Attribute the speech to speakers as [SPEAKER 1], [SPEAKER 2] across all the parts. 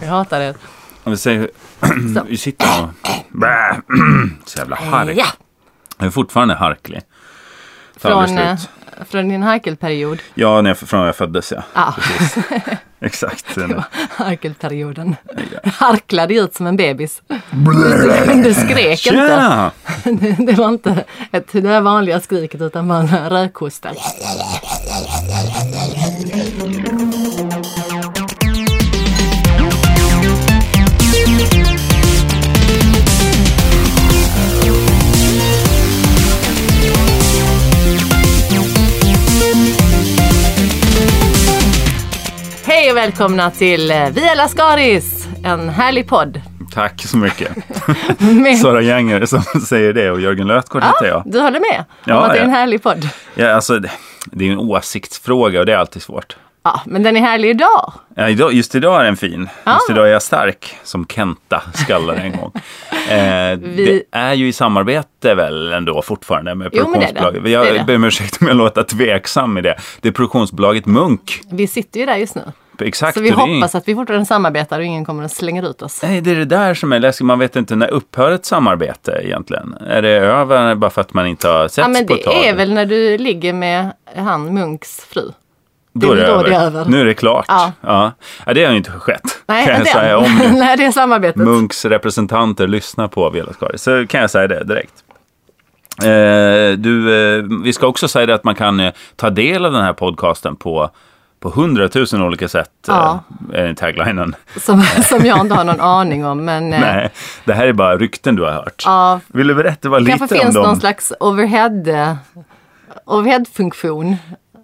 [SPEAKER 1] Jag hatar det.
[SPEAKER 2] Om vi säger
[SPEAKER 1] Så.
[SPEAKER 2] hur... Vi sitter och... Bäh. Så jävla hark.
[SPEAKER 1] Ja,
[SPEAKER 2] Jag är fortfarande harklig. Tar
[SPEAKER 1] från,
[SPEAKER 2] aldrig slut.
[SPEAKER 1] eh, från din harkelperiod.
[SPEAKER 2] Ja, när jag, från när jag föddes ja.
[SPEAKER 1] Ja,
[SPEAKER 2] Exakt.
[SPEAKER 1] harkelperioden. Du harklade ut som en bebis. Du skrek inte.
[SPEAKER 2] Tjena!
[SPEAKER 1] Det var inte ett, det där vanliga skriket utan bara en rökhosta. Hej och välkomna till eh, Via Lascaris! En härlig podd.
[SPEAKER 2] Tack så mycket.
[SPEAKER 1] Med,
[SPEAKER 2] Sara Gänger som säger det och Jörgen Lötgård heter
[SPEAKER 1] ja,
[SPEAKER 2] jag.
[SPEAKER 1] du håller med om
[SPEAKER 2] Ja,
[SPEAKER 1] att det är en
[SPEAKER 2] ja.
[SPEAKER 1] härlig podd?
[SPEAKER 2] Ja, alltså, det- det är ju en åsiktsfråga och det är alltid svårt.
[SPEAKER 1] Ja, men den är härlig idag.
[SPEAKER 2] Ja, idag, just idag är den fin. Just
[SPEAKER 1] Ah.
[SPEAKER 2] idag är jag stark, som Kenta skallade en gång. Eh,
[SPEAKER 1] Vi-
[SPEAKER 2] Det är ju i samarbete väl ändå fortfarande med
[SPEAKER 1] Jo, men det är det.
[SPEAKER 2] produktionsbolaget.
[SPEAKER 1] Det är
[SPEAKER 2] Jag
[SPEAKER 1] det.
[SPEAKER 2] ber om ursäkt om jag låter tveksam i det. Det är produktionsbolaget Munk.
[SPEAKER 1] Vi sitter ju där just nu.
[SPEAKER 2] Exakt.
[SPEAKER 1] Så vi
[SPEAKER 2] och det är ju-
[SPEAKER 1] hoppas att vi fortfarande samarbetar och ingen kommer att slänga ut oss.
[SPEAKER 2] Nej, det är det där som är läskigt. Man vet inte när upphör ett samarbete egentligen. Är det över bara för att man inte har setts
[SPEAKER 1] Ja men
[SPEAKER 2] på ett tag?
[SPEAKER 1] det är väl när du ligger med han Munks fru.
[SPEAKER 2] då
[SPEAKER 1] det är då det är över.
[SPEAKER 2] Nu är det klart.
[SPEAKER 1] Ja.
[SPEAKER 2] Ja. Ja. det har ju inte skett.
[SPEAKER 1] Nej,
[SPEAKER 2] kan jag
[SPEAKER 1] inte
[SPEAKER 2] säga
[SPEAKER 1] än.
[SPEAKER 2] om nu
[SPEAKER 1] Nej det är samarbetet.
[SPEAKER 2] Munks representanter lyssnar på Velascari. Så kan jag säga det direkt. Eh, du, eh, vi ska också säga det att man kan eh, ta del av den här podcasten på på hundratusen olika sätt,
[SPEAKER 1] Ja.
[SPEAKER 2] eh, är taglinen.
[SPEAKER 1] Som, som jag inte har någon aning om. Men eh,
[SPEAKER 2] Nej, det här är bara rykten du har hört.
[SPEAKER 1] ja,
[SPEAKER 2] Vill du berätta vad lite om
[SPEAKER 1] kanske
[SPEAKER 2] dem?
[SPEAKER 1] finns någon slags overhead, eh, overhead-funktion. man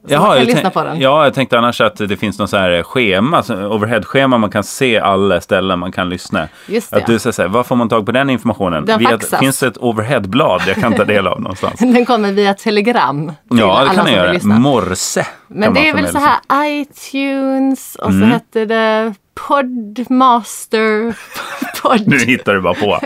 [SPEAKER 1] kan
[SPEAKER 2] jag
[SPEAKER 1] lyssna
[SPEAKER 2] tänk-
[SPEAKER 1] på den.
[SPEAKER 2] Ja, jag tänkte annars att det finns någon så här schema, så- overhead-schema, man kan se alla ställen man kan lyssna.
[SPEAKER 1] Just det.
[SPEAKER 2] Att du säger så här, var får man tag på den informationen?
[SPEAKER 1] Den
[SPEAKER 2] Via,
[SPEAKER 1] faxas.
[SPEAKER 2] finns det ett overhead-blad jag kan ta del av någonstans?
[SPEAKER 1] Den kommer via telegram till
[SPEAKER 2] Ja, det
[SPEAKER 1] alla
[SPEAKER 2] kan
[SPEAKER 1] som
[SPEAKER 2] jag
[SPEAKER 1] vill
[SPEAKER 2] göra.
[SPEAKER 1] lyssna.
[SPEAKER 2] Morse. kan
[SPEAKER 1] Men det
[SPEAKER 2] man
[SPEAKER 1] är väl så
[SPEAKER 2] förmedla
[SPEAKER 1] här iTunes och
[SPEAKER 2] Mm.
[SPEAKER 1] så hette det Podmaster,
[SPEAKER 2] sig.
[SPEAKER 1] Pod,
[SPEAKER 2] Nu hittar du bara på.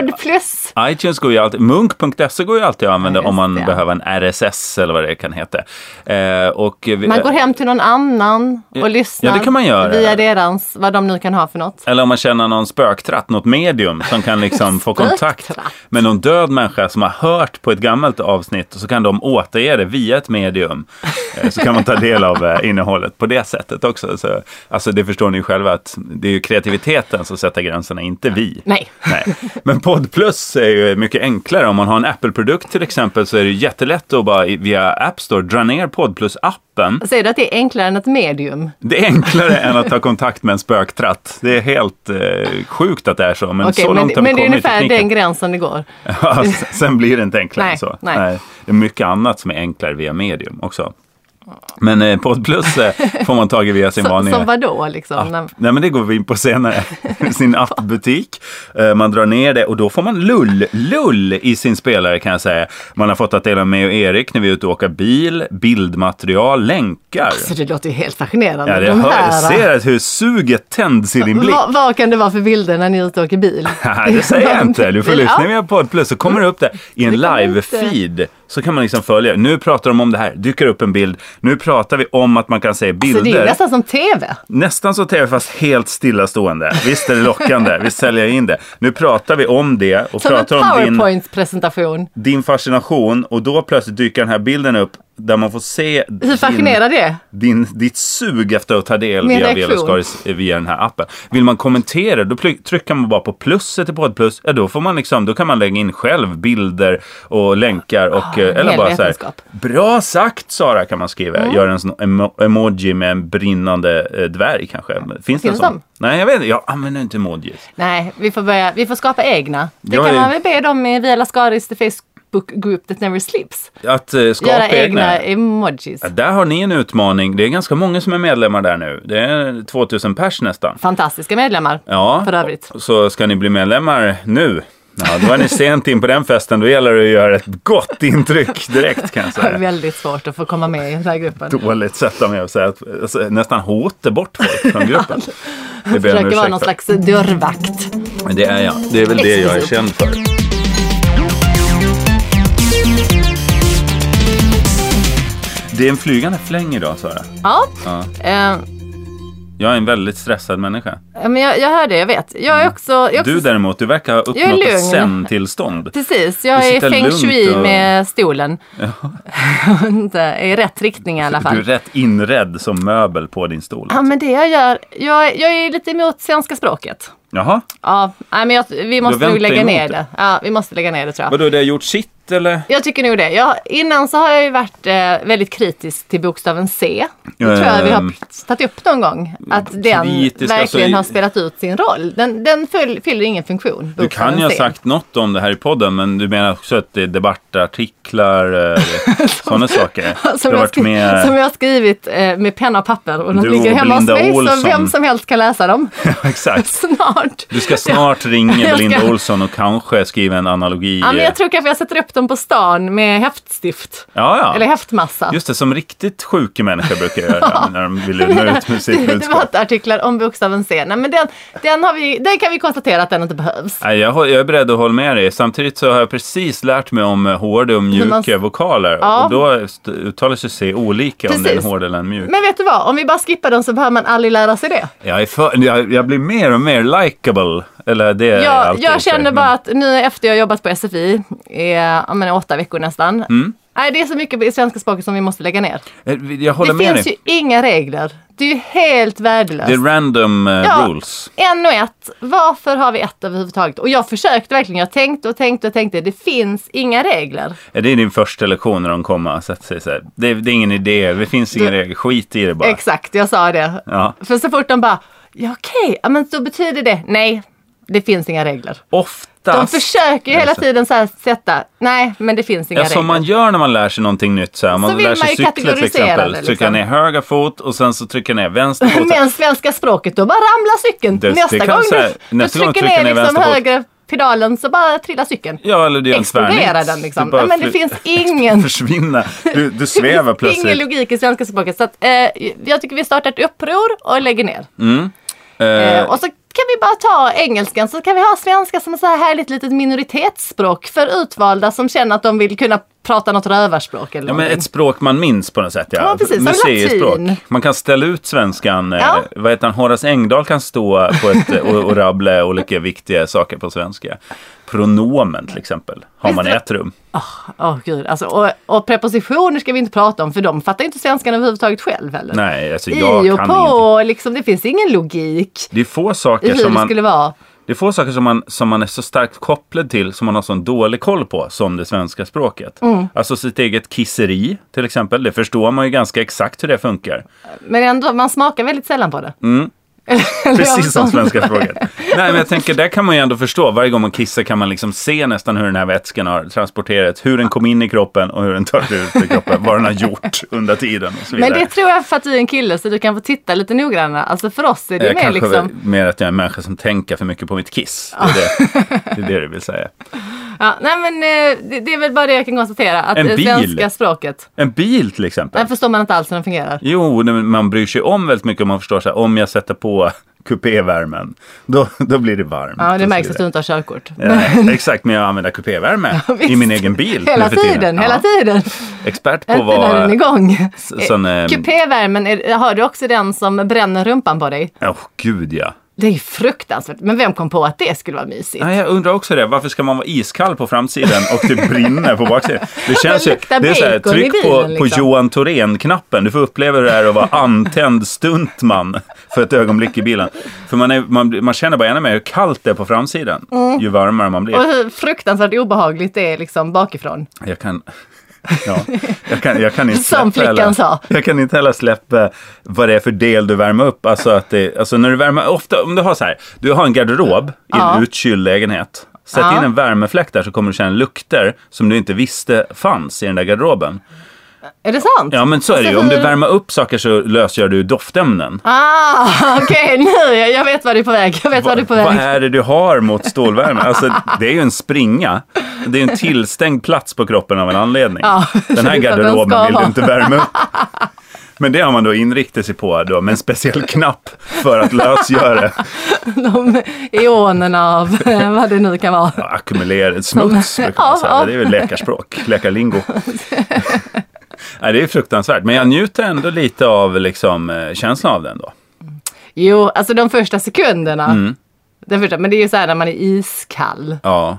[SPEAKER 1] Pod Plus.
[SPEAKER 2] iTunes går ju alltid, munk.se går ju alltid att använda
[SPEAKER 1] Ja, just
[SPEAKER 2] om man
[SPEAKER 1] det.
[SPEAKER 2] behöver en RSS eller vad det kan heta. Eh, och vi,
[SPEAKER 1] Man går hem till någon annan och lyssnar
[SPEAKER 2] ja, det kan man göra.
[SPEAKER 1] via deras, vad de nu kan ha för något.
[SPEAKER 2] Eller om man känner någon spöktratt, något medium som kan liksom få kontakt
[SPEAKER 1] Spöktratt.
[SPEAKER 2] med någon död människa som har hört på ett gammalt avsnitt och så kan de återge det via ett medium. Eh, Så kan man ta del av eh, innehållet på det sättet också. Så, alltså det förstår ni ju själva att det är ju kreativiteten som sätter gränserna, inte vi.
[SPEAKER 1] Nej.
[SPEAKER 2] Nej. Men Podd Plus är ju mycket enklare. Om man har en Apple-produkt till exempel så är det jättelätt att bara i- via App Store dra ner Podd Plus-appen
[SPEAKER 1] Säger du att det är enklare än ett medium?
[SPEAKER 2] det är enklare än att ta kontakt med en spöktratt. Det är helt eh, sjukt att det är så, men
[SPEAKER 1] Okej,
[SPEAKER 2] så
[SPEAKER 1] men,
[SPEAKER 2] långt har
[SPEAKER 1] men
[SPEAKER 2] vi
[SPEAKER 1] det är
[SPEAKER 2] kommit i
[SPEAKER 1] ungefär den
[SPEAKER 2] tekniken.
[SPEAKER 1] gränsen det går.
[SPEAKER 2] Ja, s- Sen blir det inte enklare
[SPEAKER 1] Nej,
[SPEAKER 2] än så.
[SPEAKER 1] nej.
[SPEAKER 2] Det är mycket annat som är enklare via medium också. Men eh, Podd Plus eh, får man tag i via sin
[SPEAKER 1] Så,
[SPEAKER 2] vanliga
[SPEAKER 1] som vadå liksom? När-
[SPEAKER 2] app. Ah. Nej men det går vi in på senare. sin appbutik. Eh, Man drar ner det och då får man lull, lull i sin spelare kan jag säga. Man har fått att dela med och Erik när vi är ute och åker bil, bildmaterial, länkar.
[SPEAKER 1] Så det låter ju helt fascinerande.
[SPEAKER 2] Ja, jag
[SPEAKER 1] Alltså, de
[SPEAKER 2] hör,
[SPEAKER 1] här,
[SPEAKER 2] jag ser att hur suget tänds i din blick.
[SPEAKER 1] vad, vad kan det vara för bilder när ni är ute och åker bil?
[SPEAKER 2] Haha, Det säger jag inte. Du får
[SPEAKER 1] Ja.
[SPEAKER 2] lyssna via podd plus så kommer det upp där i en
[SPEAKER 1] Det kommer
[SPEAKER 2] live-feed. Så kan man liksom följa. Nu pratar de om det här, dyker upp en bild. Nu pratar vi om att man kan
[SPEAKER 1] Så Alltså,
[SPEAKER 2] se
[SPEAKER 1] det är ju
[SPEAKER 2] bilder.
[SPEAKER 1] nästan som TV.
[SPEAKER 2] Nästan så tv fast helt stillastående. Visst är det lockande, vi säljer in det. Nu pratar vi om det och
[SPEAKER 1] Som en
[SPEAKER 2] pratar om din
[SPEAKER 1] powerpoint-presentation.
[SPEAKER 2] din fascination och då plötsligt dyker den här bilden upp där man får se
[SPEAKER 1] Hur fascinerar det?
[SPEAKER 2] din, ditt sug efter att ta del
[SPEAKER 1] Min
[SPEAKER 2] via,
[SPEAKER 1] reaktion.
[SPEAKER 2] Velascaris- via den här appen. Vill man kommentera då ply- trycker man bara på plusset i Poddplus. Ja, då, får man liksom, då kan man lägga in själv bilder och länkar. Och, eh, eller
[SPEAKER 1] hel
[SPEAKER 2] bara så här,
[SPEAKER 1] vetenskap.
[SPEAKER 2] Bra sagt Sara kan man skriva.
[SPEAKER 1] Mm.
[SPEAKER 2] Gör en sån emo- emoji med en brinnande eh, dvärg kanske. Finns, det en
[SPEAKER 1] Finns
[SPEAKER 2] sån?
[SPEAKER 1] de?
[SPEAKER 2] Nej, jag vet inte. Jag använder inte emojis.
[SPEAKER 1] Nej, vi får, börja, vi får skapa egna. Det
[SPEAKER 2] Jag
[SPEAKER 1] kan
[SPEAKER 2] är-
[SPEAKER 1] man väl be dem i Via Lascaris the Facebook group that never sleeps.
[SPEAKER 2] Att eh, skapa
[SPEAKER 1] Göra
[SPEAKER 2] egna
[SPEAKER 1] egna emojis.
[SPEAKER 2] Ja, Där har ni en utmaning. Det är ganska många som är medlemmar där nu. Det är 2000 pers nästan.
[SPEAKER 1] Fantastiska medlemmar
[SPEAKER 2] Ja,
[SPEAKER 1] för övrigt.
[SPEAKER 2] så ska ni bli medlemmar nu. Ja, då är ni sent in på den festen. Då gäller det att göra ett gott intryck direkt kan jag säga.
[SPEAKER 1] Väldigt svårt att få komma med i den här gruppen.
[SPEAKER 2] Dåligt sätt av mig att säga. att- Alltså, nästan hota bort folk från gruppen. Det ber jag
[SPEAKER 1] Försöker
[SPEAKER 2] om
[SPEAKER 1] vara
[SPEAKER 2] ursäkt
[SPEAKER 1] någon
[SPEAKER 2] för.
[SPEAKER 1] slags dörrvakt.
[SPEAKER 2] Men det är jag. Det är väl det jag är
[SPEAKER 1] Exklusivt.
[SPEAKER 2] känd för. Det är en flygande fläng idag, Sara.
[SPEAKER 1] Ja.
[SPEAKER 2] Ja.
[SPEAKER 1] Eh,
[SPEAKER 2] Jag är en väldigt stressad människa.
[SPEAKER 1] Ja, Men jag, jag hör det, jag vet. Jag är också... Jag är också
[SPEAKER 2] Mm. Du däremot, du verkar ha
[SPEAKER 1] är
[SPEAKER 2] uppnått ett
[SPEAKER 1] lugn.
[SPEAKER 2] zen-tillstånd.
[SPEAKER 1] Precis, jag
[SPEAKER 2] Du
[SPEAKER 1] är
[SPEAKER 2] sitter
[SPEAKER 1] feng
[SPEAKER 2] lugnt
[SPEAKER 1] shui
[SPEAKER 2] och-
[SPEAKER 1] med stolen. Inte I rätt riktning i alla
[SPEAKER 2] Du är
[SPEAKER 1] fall.
[SPEAKER 2] rätt inredd som möbel på din stol.
[SPEAKER 1] Ja, men det jag gör. Jag, jag är lite emot svenska språket.
[SPEAKER 2] Jaha,
[SPEAKER 1] Ja, nej, men jag, vi måste
[SPEAKER 2] vänt
[SPEAKER 1] nog lägga
[SPEAKER 2] dig
[SPEAKER 1] ner
[SPEAKER 2] emot
[SPEAKER 1] det. Ja, vi måste lägga ner det tror jag.
[SPEAKER 2] vadå, det har gjort sitt eller?
[SPEAKER 1] Jag tycker nog det. Jag, innan så har jag ju varit eh, väldigt kritisk till bokstaven C. Det tror jag vi har
[SPEAKER 2] Ehm. Mm,
[SPEAKER 1] tagit upp någon gång. Att den
[SPEAKER 2] kritisk,
[SPEAKER 1] verkligen
[SPEAKER 2] alltså, i-
[SPEAKER 1] har spelat ut sin roll. Den, den fyll, fyller ingen funktion.
[SPEAKER 2] Du kan ju ha sagt något om det här i podden, men du menar också att det är debattartiklar, sådana saker.
[SPEAKER 1] Som
[SPEAKER 2] du har
[SPEAKER 1] jag,
[SPEAKER 2] varit
[SPEAKER 1] skri-
[SPEAKER 2] med...
[SPEAKER 1] som jag har skrivit eh, med penna och papper och de
[SPEAKER 2] Du
[SPEAKER 1] ligger
[SPEAKER 2] och
[SPEAKER 1] hemma hos
[SPEAKER 2] Belinda
[SPEAKER 1] mig så
[SPEAKER 2] Olsson.
[SPEAKER 1] vem som helst kan läsa dem
[SPEAKER 2] Exakt.
[SPEAKER 1] snart.
[SPEAKER 2] Du ska snart ringa
[SPEAKER 1] ska-
[SPEAKER 2] Belinda Olsson och kanske skriva en analogi. eh,
[SPEAKER 1] Ja, men jag tror kanske jag sätter upp dem på stan med häftstift.
[SPEAKER 2] ja,
[SPEAKER 1] Eller
[SPEAKER 2] ja.
[SPEAKER 1] häftmassa.
[SPEAKER 2] Just det, som riktigt sjuka människor brukar göra när de vill nå ut med sitt budskap.
[SPEAKER 1] Debattartiklar om bokstaven C. Nej, men den, den, har vi, den kan vi konstatera att den inte behövs.
[SPEAKER 2] Nej, jag, hå- jag är beredd att hålla med dig. Samtidigt så har jag precis lärt mig om eh, hårda och
[SPEAKER 1] man-
[SPEAKER 2] mjuka vokaler.
[SPEAKER 1] Ja.
[SPEAKER 2] Och då st- uttalar sig C olika om det är en
[SPEAKER 1] Precis.
[SPEAKER 2] hård eller en mjuk.
[SPEAKER 1] Men vet du vad, om vi bara skippar den så behöver man aldrig lära sig det.
[SPEAKER 2] Jag, är för, jag, jag blir mer och mer likable. Eller det är
[SPEAKER 1] Jag,
[SPEAKER 2] Eh, alltid i och
[SPEAKER 1] jag
[SPEAKER 2] för sig,
[SPEAKER 1] känner
[SPEAKER 2] men-
[SPEAKER 1] bara att nu efter jag jobbat på SFI i ja, men, åtta veckor nästan.
[SPEAKER 2] Mm.
[SPEAKER 1] Nej, det är så mycket i svenska språket som vi måste lägga ner.
[SPEAKER 2] Eh, Jag håller
[SPEAKER 1] Det
[SPEAKER 2] med
[SPEAKER 1] finns
[SPEAKER 2] dig.
[SPEAKER 1] ju inga regler. Det är ju helt värdelöst.
[SPEAKER 2] Det är random eh,
[SPEAKER 1] Ja.
[SPEAKER 2] rules.
[SPEAKER 1] En och ett. Varför har vi ett överhuvudtaget? Och jag försökte verkligen. Jag tänkte och tänkte och tänkte. Det finns inga regler.
[SPEAKER 2] Eh, Det är din första lektion när de kommer och sätter sig så här. Det, det är ingen idé, det finns ingen regel, skit i det bara.
[SPEAKER 1] Exakt, jag sa det.
[SPEAKER 2] Ja.
[SPEAKER 1] För så fort de bara, ja okej, ja, men så betyder det, nej, det finns inga regler. De
[SPEAKER 2] Oftast,
[SPEAKER 1] försöker ju hela
[SPEAKER 2] Alltså.
[SPEAKER 1] tiden så här sätta, nej men det finns inga
[SPEAKER 2] ja, som man
[SPEAKER 1] regler.
[SPEAKER 2] gör när man lär sig någonting nytt, så här, om
[SPEAKER 1] Så
[SPEAKER 2] man
[SPEAKER 1] vill
[SPEAKER 2] lär
[SPEAKER 1] man ju
[SPEAKER 2] sig cykla till
[SPEAKER 1] kategorisera
[SPEAKER 2] exempel,
[SPEAKER 1] det, liksom.
[SPEAKER 2] trycker ner höga fot och sen så trycker ner vänster fot.
[SPEAKER 1] Men svenska språket, då bara ramlar cykeln.
[SPEAKER 2] Det- det
[SPEAKER 1] nästa
[SPEAKER 2] kan
[SPEAKER 1] gång
[SPEAKER 2] så här,
[SPEAKER 1] du,
[SPEAKER 2] nästa
[SPEAKER 1] du
[SPEAKER 2] gång
[SPEAKER 1] trycker
[SPEAKER 2] trycker
[SPEAKER 1] ner
[SPEAKER 2] ni
[SPEAKER 1] liksom
[SPEAKER 2] vänster på-
[SPEAKER 1] högre pedalen så bara trillar cykeln.
[SPEAKER 2] Ja, eller du gör en
[SPEAKER 1] Explodera
[SPEAKER 2] tvärnit.
[SPEAKER 1] den liksom.
[SPEAKER 2] Du bara
[SPEAKER 1] Nej, men det
[SPEAKER 2] fly-
[SPEAKER 1] finns ingen,
[SPEAKER 2] Försvinna, du, du
[SPEAKER 1] det
[SPEAKER 2] svävar
[SPEAKER 1] finns ingen
[SPEAKER 2] plötsligt.
[SPEAKER 1] logik i svenska språket. Så att, eh, jag tycker vi startar ett uppror och lägger ner.
[SPEAKER 2] Eh,
[SPEAKER 1] Eh, och så kan vi bara ta engelskan så kan vi ha svenska som ett så här härligt litet minoritetsspråk för utvalda som känner att de vill kunna prata något rövarspråk eller
[SPEAKER 2] Ja, men
[SPEAKER 1] någonting.
[SPEAKER 2] ett språk man minns på något sätt. Ja,
[SPEAKER 1] Ja, precis, som
[SPEAKER 2] Museispråk.
[SPEAKER 1] latin.
[SPEAKER 2] Man kan ställa ut svenskan.
[SPEAKER 1] Ja.
[SPEAKER 2] Eh, vad heter han? Horace Engdahl kan stå på ett, eh, och, och rabbla olika viktiga saker på svenska. Pronomen till exempel har man i ett rum.
[SPEAKER 1] Åh gud, alltså, och, och prepositioner ska vi inte prata om för de fattar ju inte svenskan överhuvudtaget själv heller.
[SPEAKER 2] Nej, alltså
[SPEAKER 1] I
[SPEAKER 2] jag
[SPEAKER 1] och
[SPEAKER 2] kan ingenting.
[SPEAKER 1] på, liksom, det finns ingen logik
[SPEAKER 2] Det är få
[SPEAKER 1] i
[SPEAKER 2] saker
[SPEAKER 1] hur
[SPEAKER 2] som
[SPEAKER 1] det
[SPEAKER 2] man,
[SPEAKER 1] skulle vara.
[SPEAKER 2] det är få saker som man, som man är så starkt kopplad till, som man har sån dålig koll på, som det svenska språket.
[SPEAKER 1] Mm.
[SPEAKER 2] Alltså sitt eget kisseri till exempel, det förstår man ju ganska exakt hur det funkar.
[SPEAKER 1] Men ändå, man smakar väldigt sällan på
[SPEAKER 2] Mm.
[SPEAKER 1] det.
[SPEAKER 2] Precis som svenska språket. Nej, men jag tänker, där kan man ju ändå förstå. Varje gång man kissar kan man liksom se nästan hur den här vätskan har transporterats, hur den kom in i kroppen och hur den tar sig ut ur kroppen, vad den har gjort under tiden och så vidare.
[SPEAKER 1] Men det tror jag för att du är en kille så du kan få titta lite noggrannare. Alltså för oss är det
[SPEAKER 2] Eh,
[SPEAKER 1] mer
[SPEAKER 2] kanske
[SPEAKER 1] liksom...
[SPEAKER 2] mer att jag är en människa som tänker för mycket på mitt kiss. Det är det, det, är det du vill säga.
[SPEAKER 1] Ja, nej men eh, det, det är väl bara det jag kan konstatera. Att
[SPEAKER 2] En
[SPEAKER 1] det
[SPEAKER 2] bil.
[SPEAKER 1] svenska språket.
[SPEAKER 2] En bil till exempel.
[SPEAKER 1] Där förstår man inte alls hur den fungerar.
[SPEAKER 2] Jo, nej, men man bryr sig om väldigt mycket om man förstår så här, om jag sätter på kupévärmen, då, då blir det varmt.
[SPEAKER 1] Ja,
[SPEAKER 2] och
[SPEAKER 1] det
[SPEAKER 2] så
[SPEAKER 1] märks att du
[SPEAKER 2] vidare.
[SPEAKER 1] inte har körkort.
[SPEAKER 2] Ja, exakt, men jag använder kupévärme i
[SPEAKER 1] visst.
[SPEAKER 2] min egen bil.
[SPEAKER 1] Hela
[SPEAKER 2] nu för tiden,
[SPEAKER 1] tiden,
[SPEAKER 2] Ja.
[SPEAKER 1] hela tiden.
[SPEAKER 2] Expert på
[SPEAKER 1] Inte när den är
[SPEAKER 2] vad...
[SPEAKER 1] igång.
[SPEAKER 2] S- sån, ehm,
[SPEAKER 1] Kupévärmen, är- har du också den som bränner rumpan på dig?
[SPEAKER 2] Åh gud ja.
[SPEAKER 1] Det är ju fruktansvärt. Men vem kom på att det skulle vara mysigt?
[SPEAKER 2] Nej, jag undrar också det. Varför ska man vara iskall på framsidan och typ brinna på baksidan? Det känns ju...
[SPEAKER 1] luktar
[SPEAKER 2] Det är så här,
[SPEAKER 1] bacon i
[SPEAKER 2] tryck på,
[SPEAKER 1] bilen,
[SPEAKER 2] på
[SPEAKER 1] liksom.
[SPEAKER 2] Johan Thorén-knappen. Du får uppleva hur det är att vara antänd stuntman för ett ögonblick i bilen. För man, är, man, man känner bara ännu mer hur kallt det är på framsidan.
[SPEAKER 1] Mm.
[SPEAKER 2] Ju varmare man
[SPEAKER 1] Och
[SPEAKER 2] blir.
[SPEAKER 1] hur fruktansvärt obehagligt det är liksom bakifrån.
[SPEAKER 2] Jag kan... Ja, jag kan, jag kan inte
[SPEAKER 1] Som
[SPEAKER 2] släppa
[SPEAKER 1] flickan
[SPEAKER 2] heller-
[SPEAKER 1] sa.
[SPEAKER 2] Jag kan inte heller släppa vad det är för del du värmer upp. Alltså, att det, alltså när du värmer, ofta om du har så här, du har en garderob i en
[SPEAKER 1] Ja.
[SPEAKER 2] utkyld lägenhet. Sätt
[SPEAKER 1] Ja.
[SPEAKER 2] in en värmefläkt där så kommer du känna lukter som du inte visste fanns i den där garderoben.
[SPEAKER 1] Är det sant?
[SPEAKER 2] Ja men så är det ju, om
[SPEAKER 1] Alltså hur-
[SPEAKER 2] du värmer upp saker så lösgör du doftämnen.
[SPEAKER 1] Ah, okej nu. Jag jag vet var du är på väg. Jag vet var du är på
[SPEAKER 2] Vad
[SPEAKER 1] väg.
[SPEAKER 2] är det du har mot stålvärme? Alltså, det är ju en springa. Det är en tillstängd plats på kroppen av en anledning.
[SPEAKER 1] Ja,
[SPEAKER 2] Den
[SPEAKER 1] det är för
[SPEAKER 2] här
[SPEAKER 1] att den ska
[SPEAKER 2] garderoben vill du
[SPEAKER 1] vara.
[SPEAKER 2] inte värma upp. Men det har man då inriktat sig på då, med en speciell knapp för att lösgöra
[SPEAKER 1] De ionerna av eh, vad det nu kan vara.
[SPEAKER 2] ja, ackumulerad smuts. brukar man
[SPEAKER 1] Ja,
[SPEAKER 2] säga.
[SPEAKER 1] ja.
[SPEAKER 2] Men Det är väl läkarspråk, läkarlingo. Nej, det är fruktansvärt, men jag njuter ändå lite av liksom, eh, känslan av den då.
[SPEAKER 1] Jo, alltså de första sekunderna.
[SPEAKER 2] Mm.
[SPEAKER 1] Den första, men det är ju så här när man är iskall.
[SPEAKER 2] Ja.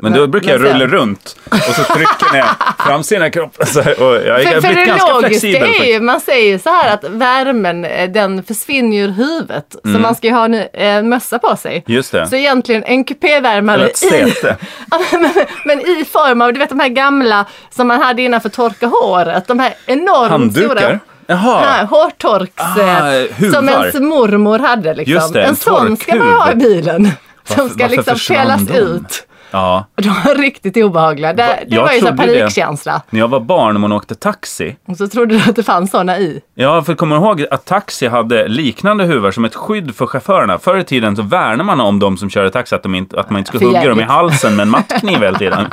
[SPEAKER 2] Men då
[SPEAKER 1] Men-
[SPEAKER 2] brukar jag
[SPEAKER 1] men sen-
[SPEAKER 2] rulla runt och så trycker jag fram sina kroppar. Så här, och jag
[SPEAKER 1] För,
[SPEAKER 2] är
[SPEAKER 1] för
[SPEAKER 2] blivit
[SPEAKER 1] det
[SPEAKER 2] ganska
[SPEAKER 1] logiska
[SPEAKER 2] flexibel.
[SPEAKER 1] är
[SPEAKER 2] faktiskt.
[SPEAKER 1] ju, man säger ju så här att värmen eh, den försvinner ju ur huvudet.
[SPEAKER 2] Mm.
[SPEAKER 1] Så man ska ju ha en, en mössa på sig.
[SPEAKER 2] Just det.
[SPEAKER 1] Så egentligen en
[SPEAKER 2] Eller
[SPEAKER 1] kupévärmare
[SPEAKER 2] ett säte.
[SPEAKER 1] Ja, men, men i form av, du vet de här gamla som man hade innan för att torka håret. De här enormt stora
[SPEAKER 2] Handdukar.
[SPEAKER 1] här,
[SPEAKER 2] Jaha.
[SPEAKER 1] hårtorks...
[SPEAKER 2] Ah,
[SPEAKER 1] eh,
[SPEAKER 2] huvar.
[SPEAKER 1] som ens mormor hade liksom.
[SPEAKER 2] Just det,
[SPEAKER 1] en
[SPEAKER 2] en
[SPEAKER 1] sån ska man ha i
[SPEAKER 2] torkhuv.
[SPEAKER 1] bilen. Som
[SPEAKER 2] Varför-
[SPEAKER 1] ska
[SPEAKER 2] varför
[SPEAKER 1] liksom
[SPEAKER 2] försvann
[SPEAKER 1] pelas
[SPEAKER 2] de?
[SPEAKER 1] ut.
[SPEAKER 2] Ja.
[SPEAKER 1] De var riktigt obehagliga. Det, det
[SPEAKER 2] Jag
[SPEAKER 1] var ju så här
[SPEAKER 2] trodde det.
[SPEAKER 1] panikkänsla.
[SPEAKER 2] När jag var barn och man åkte taxi.
[SPEAKER 1] Och så trodde du att det fanns såna i.
[SPEAKER 2] Ja, för kommer du ihåg att taxi hade liknande huvar som ett skydd för chaufförerna? Förr i tiden så värnade man om de som körde taxi, att, de inte, att man inte skulle
[SPEAKER 1] För
[SPEAKER 2] hugga dem i
[SPEAKER 1] jävligt.
[SPEAKER 2] halsen med en mattkniv hela tiden.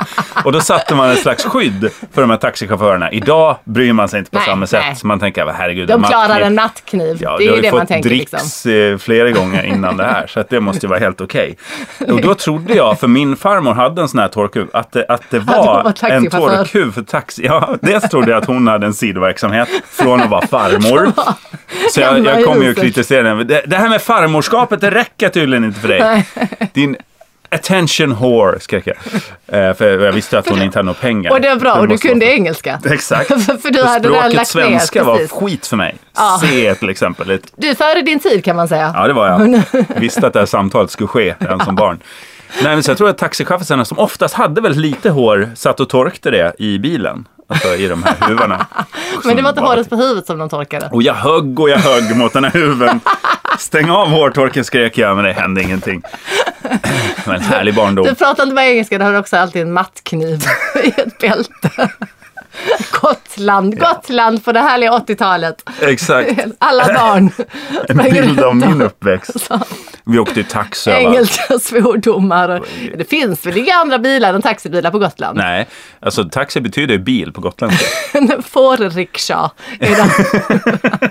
[SPEAKER 2] Och då satte man ett slags skydd för de här taxichaufförerna. Idag bryr man sig inte på
[SPEAKER 1] Nej,
[SPEAKER 2] samma sätt.
[SPEAKER 1] nej.
[SPEAKER 2] Så man tänker, "Vad herregud,
[SPEAKER 1] De
[SPEAKER 2] en
[SPEAKER 1] klarar
[SPEAKER 2] mattkniv."
[SPEAKER 1] en nattkniv.
[SPEAKER 2] Ja,
[SPEAKER 1] det
[SPEAKER 2] du
[SPEAKER 1] är ju
[SPEAKER 2] har ju
[SPEAKER 1] det man
[SPEAKER 2] fått
[SPEAKER 1] tänker
[SPEAKER 2] dricks
[SPEAKER 1] liksom.
[SPEAKER 2] eh, flera gånger innan det här, så att det måste ju vara helt okej. Och då trodde jag, för min farmor hade en sån här torkhuv, att det, att det
[SPEAKER 1] hon
[SPEAKER 2] var,
[SPEAKER 1] var
[SPEAKER 2] en
[SPEAKER 1] taxichaufför.
[SPEAKER 2] torkhuv för taxi. Ja, dels trodde jag att hon hade en sidoverksamhet från att vara farmor. Så jag,
[SPEAKER 1] hemma i
[SPEAKER 2] jag kommer ju att
[SPEAKER 1] huset.
[SPEAKER 2] kritisera den. Men Det, det här med farmorskapet, det räcker tydligen inte för dig. Din attention whore, skrek jag. Eh, för jag visste att hon inte hade några pengar.
[SPEAKER 1] Och det var bra, och du
[SPEAKER 2] måste
[SPEAKER 1] kunde
[SPEAKER 2] vara-
[SPEAKER 1] engelska.
[SPEAKER 2] Exakt.
[SPEAKER 1] För- för du hade redan
[SPEAKER 2] språket
[SPEAKER 1] lagt ner,
[SPEAKER 2] svenska var
[SPEAKER 1] precis.
[SPEAKER 2] skit för mig.
[SPEAKER 1] Ja.
[SPEAKER 2] C till exempel. Ett
[SPEAKER 1] Du är före din tid kan man säga.
[SPEAKER 2] Ja, det var jag. Visste att det här samtalet skulle ske redan som barn. Nej, men så jag tror att taxichaufförerna som oftast hade väldigt lite hår satt och torkte det i bilen. Alltså i de här huvarna.
[SPEAKER 1] Men det var inte
[SPEAKER 2] Som Mm. bara-
[SPEAKER 1] håret på huvudet som de torkade.
[SPEAKER 2] Och jag högg och jag högg mot den här huven. Stäng av hårtorken skrek jag, men det hände ingenting. Men härlig barndom.
[SPEAKER 1] Du pratar inte bara engelska, du har också alltid en mattkniv i ett bälte. Gotland, Gotland på det härliga 80-talet.
[SPEAKER 2] Exakt.
[SPEAKER 1] Alla barn.
[SPEAKER 2] En
[SPEAKER 1] sprang
[SPEAKER 2] bild
[SPEAKER 1] runt
[SPEAKER 2] av
[SPEAKER 1] och-
[SPEAKER 2] min uppväxt. Vi åkte i taxi överallt.
[SPEAKER 1] Engelska svordomar. och- Det finns väl det är andra bilar än taxibilar på Gotland?
[SPEAKER 2] Nej, alltså taxi betyder ju bil på gotländska.
[SPEAKER 1] En fårrikscha. är det.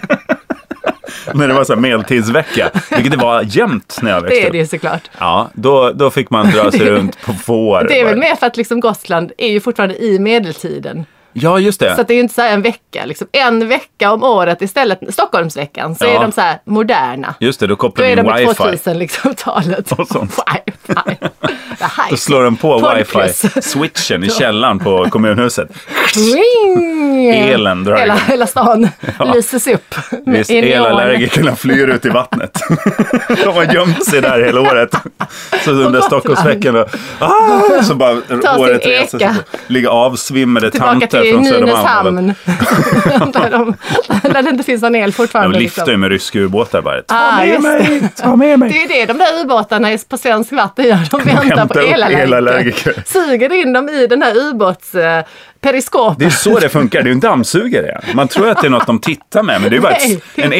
[SPEAKER 2] När det var så här medeltidsvecka, vilket det var jämt när jag växte
[SPEAKER 1] Det är
[SPEAKER 2] upp.
[SPEAKER 1] det ju såklart.
[SPEAKER 2] Ja, då, då fick man dra sig runt på får.
[SPEAKER 1] Det är väl
[SPEAKER 2] bara.
[SPEAKER 1] mer för att liksom Gotland är ju fortfarande i medeltiden.
[SPEAKER 2] Ja, just
[SPEAKER 1] Så
[SPEAKER 2] det.
[SPEAKER 1] att det är ju inte så här en vecka. Liksom. En vecka om året istället, Stockholmsveckan, så
[SPEAKER 2] Ja.
[SPEAKER 1] är de så här moderna.
[SPEAKER 2] Just det, då
[SPEAKER 1] Då
[SPEAKER 2] kopplar
[SPEAKER 1] är
[SPEAKER 2] vi
[SPEAKER 1] de
[SPEAKER 2] in
[SPEAKER 1] i
[SPEAKER 2] wifi.
[SPEAKER 1] 2000-talet. Liksom, talet.
[SPEAKER 2] Och sånt.
[SPEAKER 1] Wifi. Det här
[SPEAKER 2] Då slår den på
[SPEAKER 1] Porrplus.
[SPEAKER 2] wifi-switchen i källaren på kommunhuset.
[SPEAKER 1] Ring!
[SPEAKER 2] Elen drar
[SPEAKER 1] hela,
[SPEAKER 2] igång.
[SPEAKER 1] hela stan lyses upp. med-
[SPEAKER 2] Visst,
[SPEAKER 1] i neon.
[SPEAKER 2] elallergikerna flyr ut i vattnet. De har gömt sig där hela året. Så under
[SPEAKER 1] Gotland.
[SPEAKER 2] Stockholmsveckan då, ah, så bara
[SPEAKER 1] sin
[SPEAKER 2] året reser sig.
[SPEAKER 1] eka.
[SPEAKER 2] Ligga avsvimmade
[SPEAKER 1] Tillbaka
[SPEAKER 2] tanter
[SPEAKER 1] till
[SPEAKER 2] från Södermalm.
[SPEAKER 1] Nynäshamn. där, de, där det inte finns någon el
[SPEAKER 2] De
[SPEAKER 1] fortfarande. liksom.
[SPEAKER 2] lyfter ju med ryska ubåtar bara. Ta
[SPEAKER 1] Ah,
[SPEAKER 2] med
[SPEAKER 1] just
[SPEAKER 2] mig, ta med mig.
[SPEAKER 1] Det är ju det de där ubåtarna är på svensk vatten gör. De väntar
[SPEAKER 2] hämtar
[SPEAKER 1] på
[SPEAKER 2] upp
[SPEAKER 1] elallergiker.
[SPEAKER 2] elallergiker.
[SPEAKER 1] Suger in dem i den här eh, ubåtsperiskopen.
[SPEAKER 2] Det är så det funkar, det är ju en dammsugare. Man tror att det är något de tittar med, men det är bara
[SPEAKER 1] Nej,
[SPEAKER 2] ett,
[SPEAKER 1] det är
[SPEAKER 2] en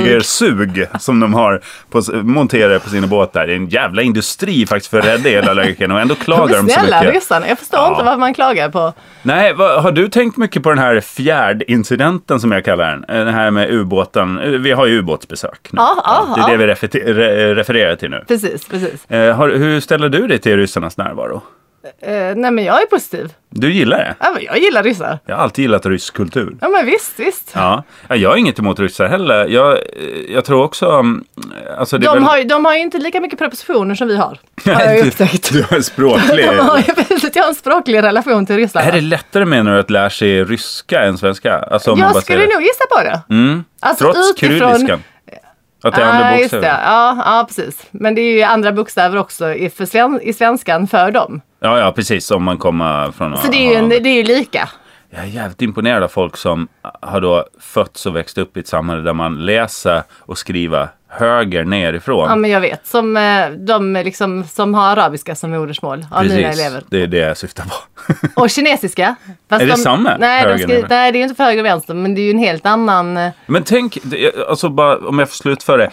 [SPEAKER 2] elallergikersug som de har på, monterade på sina båtar. Det är en jävla industri faktiskt för att rädda elallergikerna och ändå klagar de,
[SPEAKER 1] Men
[SPEAKER 2] så
[SPEAKER 1] snälla
[SPEAKER 2] mycket.
[SPEAKER 1] ryssarna, jag förstår
[SPEAKER 2] Ja.
[SPEAKER 1] inte varför man klagar på.
[SPEAKER 2] Nej, vad, har du tänkt mycket på den här fjärdincidenten som jag kallar den? Eh, Den här med ubåten. Eh, Vi har ju ubåtsbesök nu.
[SPEAKER 1] Ja, ja,
[SPEAKER 2] det är
[SPEAKER 1] ja.
[SPEAKER 2] det vi refer- re- refererar till nu.
[SPEAKER 1] Precis, precis.
[SPEAKER 2] Eh, har, hur ställer du dig till ryssarnas närvaro?
[SPEAKER 1] Eh, nej men jag är positiv.
[SPEAKER 2] Du gillar det?
[SPEAKER 1] Ja, men Jag gillar ryssar.
[SPEAKER 2] Jag har alltid gillat rysk kultur.
[SPEAKER 1] Ja men visst, visst.
[SPEAKER 2] Ja, Ja, jag har inget emot ryssar heller. Jag, eh, jag tror också... mm, Alltså det
[SPEAKER 1] De
[SPEAKER 2] är väl...
[SPEAKER 1] har, ju, de har ju inte lika mycket prepositioner som vi har. Har jag ju upptäckt.
[SPEAKER 2] Du har en språklig...
[SPEAKER 1] De har ju väldigt, jag har en språklig relation till Ryssland.
[SPEAKER 2] Är det lättare menar du att lära sig ryska än svenska? Alltså, om man bara
[SPEAKER 1] jag
[SPEAKER 2] säger
[SPEAKER 1] skulle
[SPEAKER 2] det.
[SPEAKER 1] nog gissa på det. Mm. Alltså,
[SPEAKER 2] Trots kyrilliskan? Att det är andra
[SPEAKER 1] Ah, just det.
[SPEAKER 2] bokstäver?
[SPEAKER 1] Ja, ja, precis. Men det är ju andra bokstäver också i, för sven, i svenskan för dem.
[SPEAKER 2] Ja, ja, precis. Om man kommer från...
[SPEAKER 1] Så det är ju, en, det är ju lika.
[SPEAKER 2] Jag är jävligt imponerad av folk som har då fötts och växt upp i ett samhälle där man läser och skriver höger nerifrån.
[SPEAKER 1] Ja, men jag vet. Som eh, de liksom, som har arabiska som modersmål av mina elever.
[SPEAKER 2] det är det jag syftar på.
[SPEAKER 1] Och kinesiska. Fast
[SPEAKER 2] Är det samma?
[SPEAKER 1] Nej, de
[SPEAKER 2] Höger
[SPEAKER 1] skri-
[SPEAKER 2] eller?
[SPEAKER 1] nej, det är ju inte för höger och vänster, men det är ju en helt annan... eh,
[SPEAKER 2] Men tänk, det- alltså bara, om jag får slutföra det.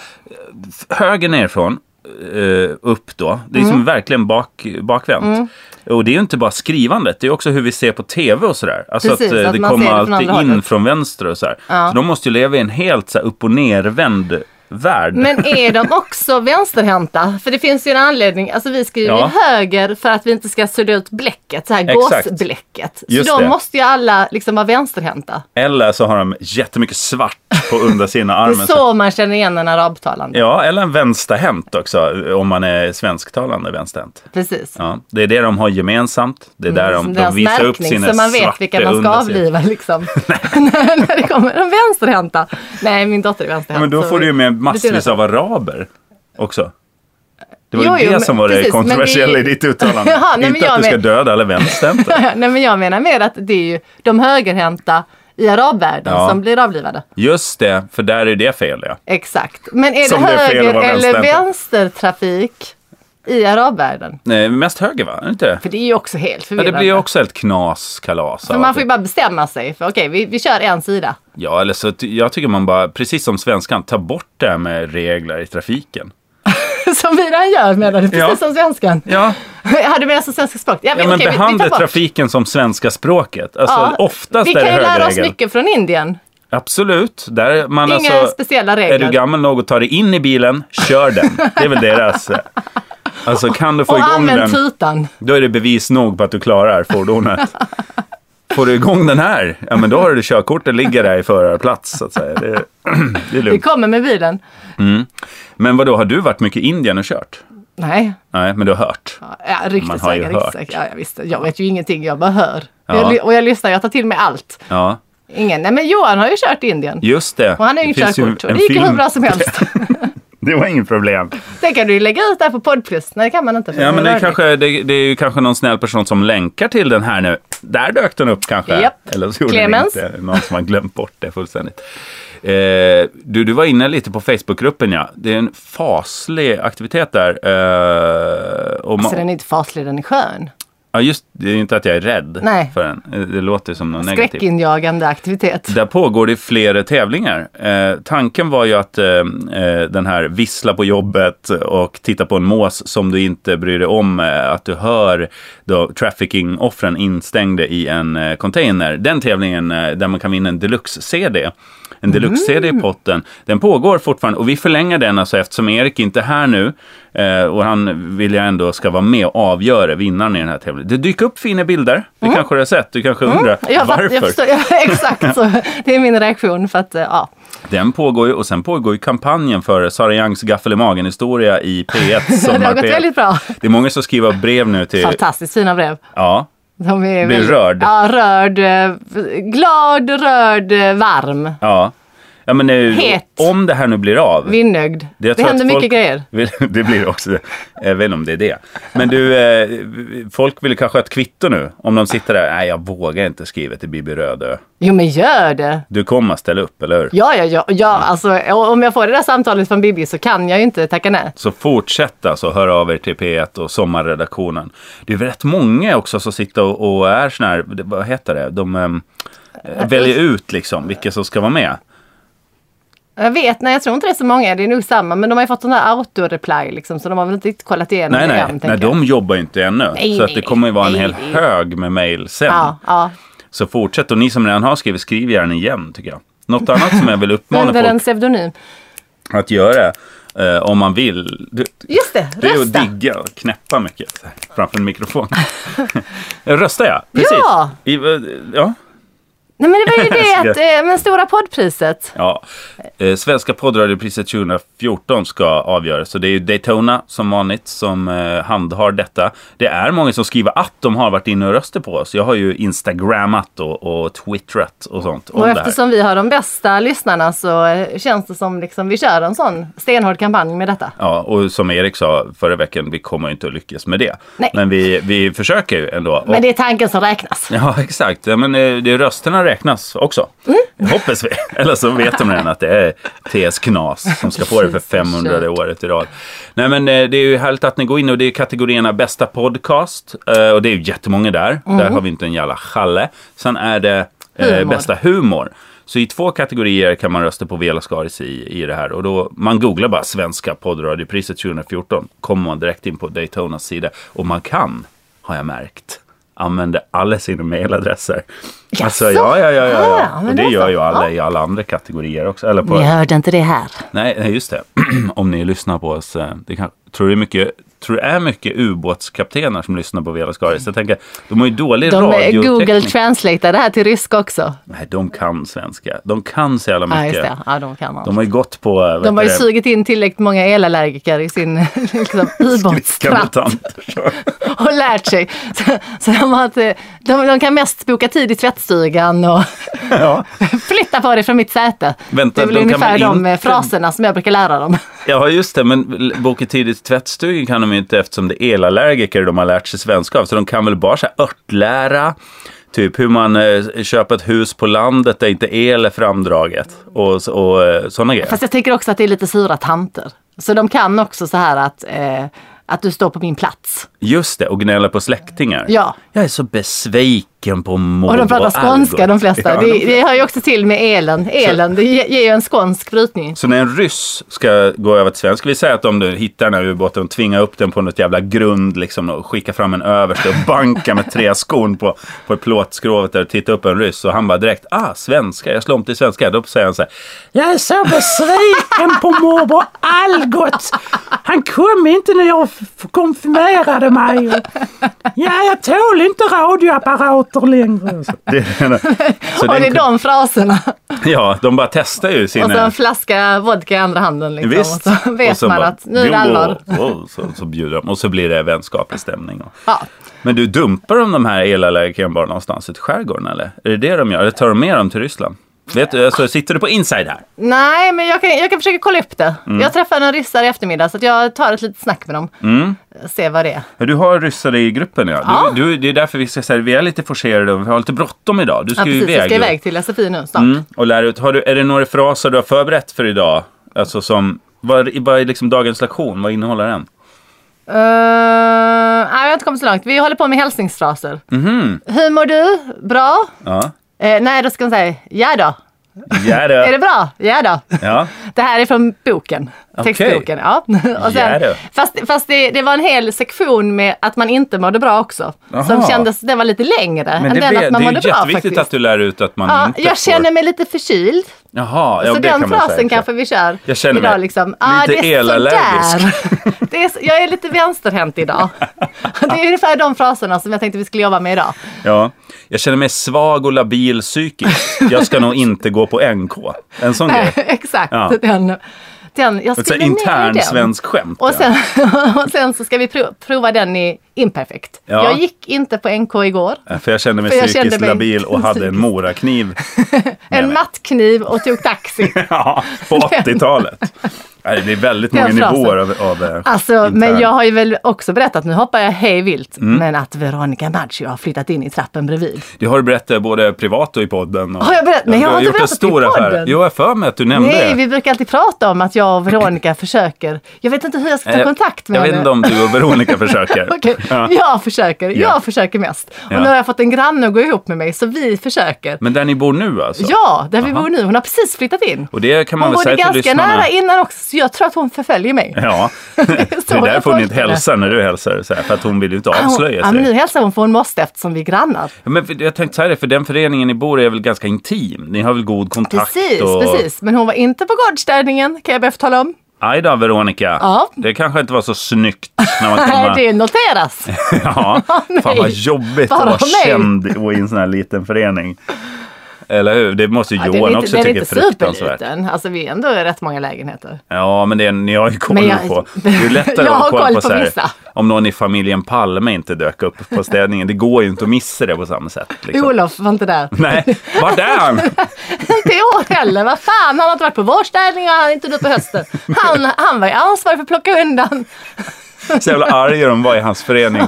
[SPEAKER 2] Höger nerifrån, eh, upp då. Det är
[SPEAKER 1] Mm.
[SPEAKER 2] som verkligen bak, bakvänt. Och det är ju inte bara skrivandet, det är också hur vi ser på tv och sådär. Alltså
[SPEAKER 1] Precis,
[SPEAKER 2] att, eh,
[SPEAKER 1] att
[SPEAKER 2] det
[SPEAKER 1] man
[SPEAKER 2] kommer
[SPEAKER 1] ser det från
[SPEAKER 2] alltid
[SPEAKER 1] andra
[SPEAKER 2] in
[SPEAKER 1] hållet.
[SPEAKER 2] från vänster och sådär. Så de måste ju leva i en helt så här, upp och nervänd värld.
[SPEAKER 1] Men är de också vänsterhänta? För det finns ju en anledning. Alltså vi skriver ju
[SPEAKER 2] Ja.
[SPEAKER 1] höger för att vi inte ska sudda ut bläcket, så här
[SPEAKER 2] Exakt.
[SPEAKER 1] gåsbläcket. Så
[SPEAKER 2] Just
[SPEAKER 1] de
[SPEAKER 2] det.
[SPEAKER 1] måste ju alla liksom vara vänsterhänta.
[SPEAKER 2] Eller så har de jättemycket svart på undersidan av
[SPEAKER 1] Det är
[SPEAKER 2] armen.
[SPEAKER 1] så man känner igen en arabtalande.
[SPEAKER 2] Ja, eller en vänsterhänt också, om man är svensktalande vänsterhänt.
[SPEAKER 1] Precis.
[SPEAKER 2] Ja, det är det de har gemensamt. Det är där de, de
[SPEAKER 1] Mm, Deras
[SPEAKER 2] visar upp
[SPEAKER 1] märkning,
[SPEAKER 2] sina
[SPEAKER 1] Så man vet
[SPEAKER 2] svarta
[SPEAKER 1] vilka man ska
[SPEAKER 2] undersidor.
[SPEAKER 1] avliva liksom. när det kommer de vänsterhänta. Nej, min dotter är
[SPEAKER 2] Ja,
[SPEAKER 1] vänsterhänt.
[SPEAKER 2] men då
[SPEAKER 1] så
[SPEAKER 2] får du ju med
[SPEAKER 1] Alltså, betyder
[SPEAKER 2] massvis
[SPEAKER 1] det.
[SPEAKER 2] av araber också. Det var ju
[SPEAKER 1] Jo, jo,
[SPEAKER 2] det
[SPEAKER 1] men-
[SPEAKER 2] som var det
[SPEAKER 1] precis, men det är ju-
[SPEAKER 2] kontroversiella i ditt uttalande.
[SPEAKER 1] Jaha, nej, men
[SPEAKER 2] Inte att
[SPEAKER 1] jag
[SPEAKER 2] du ska
[SPEAKER 1] men-
[SPEAKER 2] döda alla vänsterhänta.
[SPEAKER 1] Nej, men jag menar mer att det är ju de högerhänta i arabvärlden
[SPEAKER 2] Ja.
[SPEAKER 1] som blir avlivade.
[SPEAKER 2] Just det, för där är det fel ja.
[SPEAKER 1] Exakt. Men är
[SPEAKER 2] Som
[SPEAKER 1] det
[SPEAKER 2] det är fel att
[SPEAKER 1] höger
[SPEAKER 2] vara
[SPEAKER 1] eller
[SPEAKER 2] vänsterhänt.
[SPEAKER 1] vänstertrafik i arabvärlden?
[SPEAKER 2] Nej, mest höger va? Är det Inte det?
[SPEAKER 1] För det är ju också helt
[SPEAKER 2] Ja,
[SPEAKER 1] förvirrande.
[SPEAKER 2] det blir ju också helt knas, kalas.
[SPEAKER 1] För man får ju bara bestämma sig för okej, vi, vi kör en sida.
[SPEAKER 2] Ja, eller så ty- jag tycker man bara, precis som svenskan, ta bort det här med regler i trafiken.
[SPEAKER 1] Som vi redan gör menar du, precis
[SPEAKER 2] Ja.
[SPEAKER 1] som svenskan.
[SPEAKER 2] Ja,
[SPEAKER 1] Ja, du menar som svenska språket? Ja, men,
[SPEAKER 2] ja men
[SPEAKER 1] okej, vi- vi tar
[SPEAKER 2] behandla
[SPEAKER 1] bort.
[SPEAKER 2] trafiken som svenska språket. Alltså
[SPEAKER 1] Ja,
[SPEAKER 2] oftast
[SPEAKER 1] Vi
[SPEAKER 2] är
[SPEAKER 1] kan
[SPEAKER 2] det
[SPEAKER 1] ju lära oss
[SPEAKER 2] högerregeln.
[SPEAKER 1] mycket från Indien.
[SPEAKER 2] Absolut. Där är man
[SPEAKER 1] Inga
[SPEAKER 2] alltså,
[SPEAKER 1] speciella
[SPEAKER 2] Är
[SPEAKER 1] regler.
[SPEAKER 2] du gammal nog att ta dig in i bilen, kör den. Det är väl deras... eh, Alltså kan du få
[SPEAKER 1] och
[SPEAKER 2] igång
[SPEAKER 1] använd
[SPEAKER 2] den,
[SPEAKER 1] tutan.
[SPEAKER 2] då är det bevis nog på att du klarar fordonet. Får du igång den här, ja men då har du körkortet, ligger där i förarplats så att säga. Det, det är
[SPEAKER 1] Vi
[SPEAKER 2] lugnt.
[SPEAKER 1] kommer med bilen.
[SPEAKER 2] Men vadå, har du varit mycket i Indien och kört?
[SPEAKER 1] Nej,
[SPEAKER 2] Nej, men du har hört.
[SPEAKER 1] ja,
[SPEAKER 2] Man har ju
[SPEAKER 1] ryktesvägar.
[SPEAKER 2] hört.
[SPEAKER 1] ryktesvägar. Ja, ja, visst. Jag vet ju ingenting, jag bara hör.
[SPEAKER 2] Ja.
[SPEAKER 1] Jag, ly- och jag lyssnar, jag tar till mig allt.
[SPEAKER 2] Ja,
[SPEAKER 1] Ingen. Nej, men Johan har ju kört i Indien.
[SPEAKER 2] just det.
[SPEAKER 1] Och han har ju
[SPEAKER 2] Det
[SPEAKER 1] inget
[SPEAKER 2] finns
[SPEAKER 1] körkort. Och
[SPEAKER 2] en
[SPEAKER 1] det gick ju hur
[SPEAKER 2] film-
[SPEAKER 1] bra som helst.
[SPEAKER 2] Det var inget problem.
[SPEAKER 1] det kan du ju lägga ut där på Podd Plus. Nej, det kan man inte. för
[SPEAKER 2] Ja, men det är,
[SPEAKER 1] rörligt.
[SPEAKER 2] kanske, det, det är ju kanske någon snäll person som länkar till den här nu. Där dök den upp kanske.
[SPEAKER 1] Japp.
[SPEAKER 2] Eller så gjorde
[SPEAKER 1] Clemens.
[SPEAKER 2] den inte. Någon som har glömt bort det fullständigt. Eh, du, du var inne lite på Facebookgruppen ja. Det är en faslig aktivitet där. Eh, och
[SPEAKER 1] Alltså,
[SPEAKER 2] man,
[SPEAKER 1] den är inte faslig, den är skön.
[SPEAKER 2] ja, just det, är ju inte att jag är rädd
[SPEAKER 1] Nej.
[SPEAKER 2] för den. Eh, Det låter ju som något negativt.
[SPEAKER 1] Skräckinjagande aktivitet.
[SPEAKER 2] Där pågår det flera tävlingar. Eh, tanken var ju att eh, eh, den här vissla på jobbet och titta på en mås som du inte bryr dig om, eh, att du hör då trafficking-offren instängda i en eh, container. Den tävlingen eh, där man kan vinna en deluxe-CD. En deluxe-CD i potten. Den pågår fortfarande och vi förlänger den alltså eftersom Erik inte är här nu eh, och han vill jag ändå ska vara med och avgöra vinnaren i den här tävlingen. Det dyker upp fina bilder. Det kanske du har sett. Du kanske undrar
[SPEAKER 1] Jag, fatt-
[SPEAKER 2] varför?
[SPEAKER 1] jag förstår, ja, exakt så. Det är min reaktion för att, eh, ja.
[SPEAKER 2] Den pågår ju och sen pågår ju kampanjen för Sara Youngs gaffel i magen historia i P1
[SPEAKER 1] Det har
[SPEAKER 2] sommar
[SPEAKER 1] gått
[SPEAKER 2] P1.
[SPEAKER 1] väldigt bra.
[SPEAKER 2] Det är många som skriver brev nu till...
[SPEAKER 1] Fantastiskt fina brev.
[SPEAKER 2] Ja,
[SPEAKER 1] De är
[SPEAKER 2] Blir rörd.
[SPEAKER 1] Ja, rörd. eh, Glad, rörd, eh, varm.
[SPEAKER 2] ja. ja men nu,
[SPEAKER 1] Het.
[SPEAKER 2] om det här nu blir av.
[SPEAKER 1] Vinnögd.
[SPEAKER 2] jag
[SPEAKER 1] Det
[SPEAKER 2] tror
[SPEAKER 1] händer
[SPEAKER 2] att
[SPEAKER 1] mycket grejer.
[SPEAKER 2] Vill, det blir det också. Jag vet inte om det är det. Men du, eh, folk vill kanske ha ett kvitto nu. Om de sitter där, nej jag vågar inte skriva till Bibi Rödö.
[SPEAKER 1] Jo men gör det!
[SPEAKER 2] Du kommer att ställa upp, eller hur?
[SPEAKER 1] Ja, ja, ja. ja alltså, o- om jag får det där samtalet från Bibi så kan jag ju inte tacka nej.
[SPEAKER 2] Så fortsätt alltså höra av er till P1 och sommarredaktionen. Det är väl rätt många också som sitter och, och är sådana här, vad heter det, de ehm,
[SPEAKER 1] Äh,
[SPEAKER 2] eh, väljer ut liksom vilka som ska vara med.
[SPEAKER 1] Jag vet, nej jag tror inte det är så många. Det är nog samma. Men de har ju fått sån där auto-reply liksom så de har väl inte riktigt kollat igenom
[SPEAKER 2] Nej,
[SPEAKER 1] det
[SPEAKER 2] nej,
[SPEAKER 1] än, tänker
[SPEAKER 2] nej
[SPEAKER 1] jag.
[SPEAKER 2] de jobbar ju inte ännu.
[SPEAKER 1] Nej,
[SPEAKER 2] så att det
[SPEAKER 1] nej,
[SPEAKER 2] kommer ju vara en
[SPEAKER 1] nej,
[SPEAKER 2] hel
[SPEAKER 1] nej.
[SPEAKER 2] hög med mejl sen.
[SPEAKER 1] Ja, ja.
[SPEAKER 2] Så fortsätt och ni som redan har skrivit, skriv gärna igen tycker jag. Något annat som jag vill uppmana
[SPEAKER 1] Under en
[SPEAKER 2] folk
[SPEAKER 1] pseudonym.
[SPEAKER 2] att göra eh, om man vill. Du,
[SPEAKER 1] Just det,
[SPEAKER 2] det är att
[SPEAKER 1] rösta!
[SPEAKER 2] digga och knäppa mycket framför en mikrofon. Rösta ja, precis.
[SPEAKER 1] Ja.
[SPEAKER 2] I, eh, ja.
[SPEAKER 1] Nej men det var ju
[SPEAKER 2] Älskar.
[SPEAKER 1] det att, eh, men Stora poddpriset.
[SPEAKER 2] Ja. Eh, Svenska poddradiopriset 2014 ska avgöras. Så det är ju Daytona som vanligt som eh, handhar detta. Det är många som skriver att de har varit inne och röstat på oss. Jag har ju instagrammat och, och twittrat och sånt om
[SPEAKER 1] Och
[SPEAKER 2] det här.
[SPEAKER 1] eftersom vi har de bästa lyssnarna så eh, känns det som liksom vi kör en sån stenhård kampanj med detta.
[SPEAKER 2] Ja, och som Erik sa förra veckan, vi kommer ju inte att lyckas med det.
[SPEAKER 1] Nej.
[SPEAKER 2] Men vi, vi försöker ju ändå. Och-
[SPEAKER 1] Men det är tanken som räknas.
[SPEAKER 2] Ja, exakt. Ja, men eh, det, rösterna räknas också.
[SPEAKER 1] Mm.
[SPEAKER 2] Hoppas vi. Eller så vet de redan att det är TS Knas som ska få det för 500 året i rad. Nej, men eh, det är ju härligt att ni går in och det är kategorierna bästa podcast. eh, Och det är ju jättemånga där. Där har vi inte en jävla challe. Sen är det eh,
[SPEAKER 1] Humor.
[SPEAKER 2] bästa humor. Så i två kategorier kan man rösta på Vela Skaris i, i det här. Och då, man googlar bara svenska poddradiopriset 2014. Kommer man direkt in på Daytonas sida. Och man kan, har jag märkt, använda alla sina mailadresser. Alltså, ja, ja, ja,
[SPEAKER 1] Ah,
[SPEAKER 2] ja, ja.
[SPEAKER 1] men
[SPEAKER 2] Och det
[SPEAKER 1] det är
[SPEAKER 2] gör
[SPEAKER 1] så.
[SPEAKER 2] ju alla i alla andra kategorier också. Eller på,
[SPEAKER 1] hörde inte det här.
[SPEAKER 2] nej, nej, just det. Om ni lyssnar på oss. eh, Det kan, tror det är mycket tror det är mycket ubåtskaptener som lyssnar på Vela Skaris. Jag tänker, de har ju dålig
[SPEAKER 1] De eh,
[SPEAKER 2] radioteknik.
[SPEAKER 1] Google translatear det här till ryska också.
[SPEAKER 2] Nej, de kan svenska. De kan så jävla
[SPEAKER 1] Ja, just
[SPEAKER 2] mycket.
[SPEAKER 1] det. Ja, de kan allt.
[SPEAKER 2] de har ju gått på... eh, vad
[SPEAKER 1] De har ju
[SPEAKER 2] heter det,
[SPEAKER 1] sugit in tillräckligt många elallergiker i sin liksom,
[SPEAKER 2] skrikande
[SPEAKER 1] ubåtskratt
[SPEAKER 2] tanter.
[SPEAKER 1] och lärt sig. Så, så de, har inte, de, de kan mest boka tid i tvättstugan och
[SPEAKER 2] ja.
[SPEAKER 1] flytta på dig från mitt säte.
[SPEAKER 2] Vänta,
[SPEAKER 1] det är väl
[SPEAKER 2] då kan
[SPEAKER 1] ungefär
[SPEAKER 2] man
[SPEAKER 1] de eh,
[SPEAKER 2] inte-
[SPEAKER 1] fraserna som jag brukar lära dem.
[SPEAKER 2] ja, just det. Men boka tid i tvättstugan kan de ju inte eftersom det är elallergiker de har lärt sig svenska av. Så de kan väl bara så här örtlära. Typ hur man eh, köper ett hus på landet där inte el är framdraget. Och, så- och eh, sådana grejer.
[SPEAKER 1] Fast jag tänker också att det är lite sura tanter. Så de kan också så här att, eh, att du står på min plats.
[SPEAKER 2] Just det, och gnälla på släktingar.
[SPEAKER 1] Ja.
[SPEAKER 2] Jag är så besviken på Maud
[SPEAKER 1] Och de pratar skånska
[SPEAKER 2] Algot.
[SPEAKER 1] de flesta.
[SPEAKER 2] Ja,
[SPEAKER 1] det,
[SPEAKER 2] de-
[SPEAKER 1] det hör ju också till med elen. Elen, det ge- ger ju en skånsk brytning.
[SPEAKER 2] Så när en ryss ska gå över till svenska, vi säger att om du hittar den här ubåten och tvingar upp den på något jävla grund liksom och skickar fram en överste och bankar med tre skon på, på ett plåtskrovet där och tittar upp en ryss och han bara direkt ah svenska, jag slår om till svenska. Då säger han så här, jag är så besviken på morbror Algot. Han kom inte när jag f- konfirmerade mig. Ja, jag tål inte radioapparater längre. alltså. Så det är den- så
[SPEAKER 1] Och det är
[SPEAKER 2] den,
[SPEAKER 1] de fraserna.
[SPEAKER 2] ja, de bara testar ju
[SPEAKER 1] Och så
[SPEAKER 2] sina...
[SPEAKER 1] en flaska vodka i andra handen. Liksom.
[SPEAKER 2] Visst.
[SPEAKER 1] Och så vet
[SPEAKER 2] Och så
[SPEAKER 1] man
[SPEAKER 2] bara,
[SPEAKER 1] att nu är det
[SPEAKER 2] "Jo",
[SPEAKER 1] allvar.
[SPEAKER 2] Och så, så bjuder de. Och så blir det vänskaplig stämning. Och-
[SPEAKER 1] Ja.
[SPEAKER 2] Men du, dumpar de de här elallergikerna bara någonstans ute i skärgården eller? Är det det de gör? Eller tar de med dem till Ryssland? Vet du, alltså, sitter du på inside här?
[SPEAKER 1] Nej, men jag kan, jag kan försöka kolla upp det. Jag träffade en ryssare i eftermiddag så att jag tar ett litet snack med dem. Se vad det är.
[SPEAKER 2] Ja, Du har ryssar i gruppen ja. Du,
[SPEAKER 1] Ja.
[SPEAKER 2] Du, det är därför vi ska säga vi är lite forcerade och vi har lite bråttom idag. Du ska
[SPEAKER 1] Ja,
[SPEAKER 2] ju
[SPEAKER 1] precis,
[SPEAKER 2] iväg.
[SPEAKER 1] jag ska
[SPEAKER 2] du.
[SPEAKER 1] iväg till SFI nu snart.
[SPEAKER 2] Mm, och lära ut. Har du, är det några fraser du har förberett för idag? Alltså som, vad, vad är liksom dagens lektion? Vad innehåller den?
[SPEAKER 1] Eh, nej, jag har inte kommit så långt. Vi håller på med hälsningsfraser.
[SPEAKER 2] Mhm.
[SPEAKER 1] Hur mår du? Bra?
[SPEAKER 2] Ja.
[SPEAKER 1] Eh, nej, då ska man säga ja då.
[SPEAKER 2] Ja,
[SPEAKER 1] Är det bra? Ja då.
[SPEAKER 2] ja.
[SPEAKER 1] Det här är från boken.
[SPEAKER 2] Okej.
[SPEAKER 1] Textboken. Ja. Och
[SPEAKER 2] Ja då.
[SPEAKER 1] fast fast det, det var en hel sektion med att man inte mådde bra också.
[SPEAKER 2] Jaha.
[SPEAKER 1] Som kändes, den var lite längre
[SPEAKER 2] Men
[SPEAKER 1] än
[SPEAKER 2] det,
[SPEAKER 1] den
[SPEAKER 2] vet-
[SPEAKER 1] att man
[SPEAKER 2] det är
[SPEAKER 1] mådde
[SPEAKER 2] ju
[SPEAKER 1] bra
[SPEAKER 2] jätteviktigt
[SPEAKER 1] faktiskt.
[SPEAKER 2] att du lär ut att man
[SPEAKER 1] Ja,
[SPEAKER 2] inte
[SPEAKER 1] jag känner
[SPEAKER 2] får...
[SPEAKER 1] mig lite förkyld.
[SPEAKER 2] Jaha, ja,
[SPEAKER 1] så
[SPEAKER 2] det
[SPEAKER 1] den
[SPEAKER 2] kan man säga,
[SPEAKER 1] frasen
[SPEAKER 2] ja.
[SPEAKER 1] kanske vi kör
[SPEAKER 2] Jag känner
[SPEAKER 1] idag.
[SPEAKER 2] mig
[SPEAKER 1] Liksom. Ah,
[SPEAKER 2] lite
[SPEAKER 1] det är
[SPEAKER 2] elallergisk.
[SPEAKER 1] sådär. Det är, så- jag är lite vänsterhänt idag. Det är ungefär de fraserna som jag tänkte vi skulle jobba med idag.
[SPEAKER 2] Ja. Jag känner mig svag och labil psykiskt. Jag ska nog inte gå på NK. En sån grej.
[SPEAKER 1] Exakt.
[SPEAKER 2] Ja.
[SPEAKER 1] Den, den, jag
[SPEAKER 2] Ett så
[SPEAKER 1] skriver
[SPEAKER 2] här
[SPEAKER 1] ner
[SPEAKER 2] intern
[SPEAKER 1] den.
[SPEAKER 2] svensk skämt.
[SPEAKER 1] Och sen,
[SPEAKER 2] ja.
[SPEAKER 1] och sen så ska vi pro- prova den i imperfekt.
[SPEAKER 2] Ja.
[SPEAKER 1] Jag gick inte på NK igår.
[SPEAKER 2] För jag kände mig
[SPEAKER 1] För jag
[SPEAKER 2] psykiskt
[SPEAKER 1] kände mig
[SPEAKER 2] labil och hade en morakniv
[SPEAKER 1] En
[SPEAKER 2] nej.
[SPEAKER 1] mattkniv och tog taxi.
[SPEAKER 2] ja, på 80-talet. Nej, Det är väldigt många
[SPEAKER 1] Den frasen.
[SPEAKER 2] nivåer av, av eh,
[SPEAKER 1] Alltså, men
[SPEAKER 2] intern- Mm.
[SPEAKER 1] jag har ju väl också berättat, nu hoppar jag hej vilt, men att Veronica Maggio har flyttat in i trappen bredvid.
[SPEAKER 2] Det har du berättat eh, både privat och i podden. Och...
[SPEAKER 1] Har jag berättat? Nej, jag
[SPEAKER 2] Du
[SPEAKER 1] har inte
[SPEAKER 2] gjort en
[SPEAKER 1] berättat i
[SPEAKER 2] stor
[SPEAKER 1] podden.
[SPEAKER 2] affär. Jo, jag har för mig att du nämnde
[SPEAKER 1] Nej,
[SPEAKER 2] det.
[SPEAKER 1] vi brukar alltid prata om att jag och Veronica försöker. Jag vet inte hur jag ska ta
[SPEAKER 2] Eh,
[SPEAKER 1] kontakt med
[SPEAKER 2] Jag
[SPEAKER 1] henne.
[SPEAKER 2] vet inte om du och Veronica försöker.
[SPEAKER 1] Okej,
[SPEAKER 2] Ja.
[SPEAKER 1] jag försöker. Jag
[SPEAKER 2] Ja.
[SPEAKER 1] försöker mest. Och
[SPEAKER 2] Ja.
[SPEAKER 1] nu har jag fått en granne att gå ihop med mig, så vi försöker.
[SPEAKER 2] Men där ni bor nu alltså?
[SPEAKER 1] Ja, där vi bor nu. Hon har precis flyttat in.
[SPEAKER 2] Och det kan man
[SPEAKER 1] Hon
[SPEAKER 2] väl
[SPEAKER 1] bodde
[SPEAKER 2] säga till
[SPEAKER 1] ganska
[SPEAKER 2] lyssnarna.
[SPEAKER 1] nära innan också, så jag tror att hon förföljer mig.
[SPEAKER 2] Ja, det är
[SPEAKER 1] jag
[SPEAKER 2] därför hon inte
[SPEAKER 1] tolkar det.
[SPEAKER 2] hälsar när du hälsar. Så här, för att hon vill ju inte
[SPEAKER 1] Ah, hon-
[SPEAKER 2] avslöja
[SPEAKER 1] ja, men nu
[SPEAKER 2] sig.
[SPEAKER 1] hälsar hon för hon måste eftersom vi är grannar.
[SPEAKER 2] Ja, men för- jag tänkte så här, för den föreningen ni bor i är väl ganska intim? Ni har väl god kontakt?
[SPEAKER 1] Precis,
[SPEAKER 2] och...
[SPEAKER 1] precis. Men hon var inte på gårdsstädningen kan jag behöva tala om.
[SPEAKER 2] Aj då, Veronica.
[SPEAKER 1] Ja.
[SPEAKER 2] Det kanske inte var så snyggt när man
[SPEAKER 1] Nej,
[SPEAKER 2] kommer...
[SPEAKER 1] det noteras.
[SPEAKER 2] Ja,
[SPEAKER 1] nej.
[SPEAKER 2] fan vad jobbigt
[SPEAKER 1] Bara
[SPEAKER 2] att vara
[SPEAKER 1] nej.
[SPEAKER 2] känd och i en sån här liten förening. Eller hur? Det måste ju
[SPEAKER 1] Ja, den
[SPEAKER 2] Johan
[SPEAKER 1] är inte,
[SPEAKER 2] också
[SPEAKER 1] den är
[SPEAKER 2] tycka är
[SPEAKER 1] inte
[SPEAKER 2] fruktansvärt.
[SPEAKER 1] superliten. Alltså vi är ändå i rätt många lägenheter.
[SPEAKER 2] Ja, men det är, ni har ju koll
[SPEAKER 1] Men jag-
[SPEAKER 2] på. Det är ju lättare
[SPEAKER 1] Jag
[SPEAKER 2] att
[SPEAKER 1] har
[SPEAKER 2] ha koll
[SPEAKER 1] koll
[SPEAKER 2] på,
[SPEAKER 1] på
[SPEAKER 2] så här,
[SPEAKER 1] vissa.
[SPEAKER 2] om någon i familjen Palme inte dök upp på städningen. Det går ju inte att missa det på samma sätt. Liksom.
[SPEAKER 1] Olof var inte där.
[SPEAKER 2] Nej, vart är han?
[SPEAKER 1] inte i år heller. Vad fan, han har inte varit på vårstädningen och han är inte nu på hösten. Han, han var ju ansvarig för att plocka undan.
[SPEAKER 2] Så jävla arg de var i hans förening.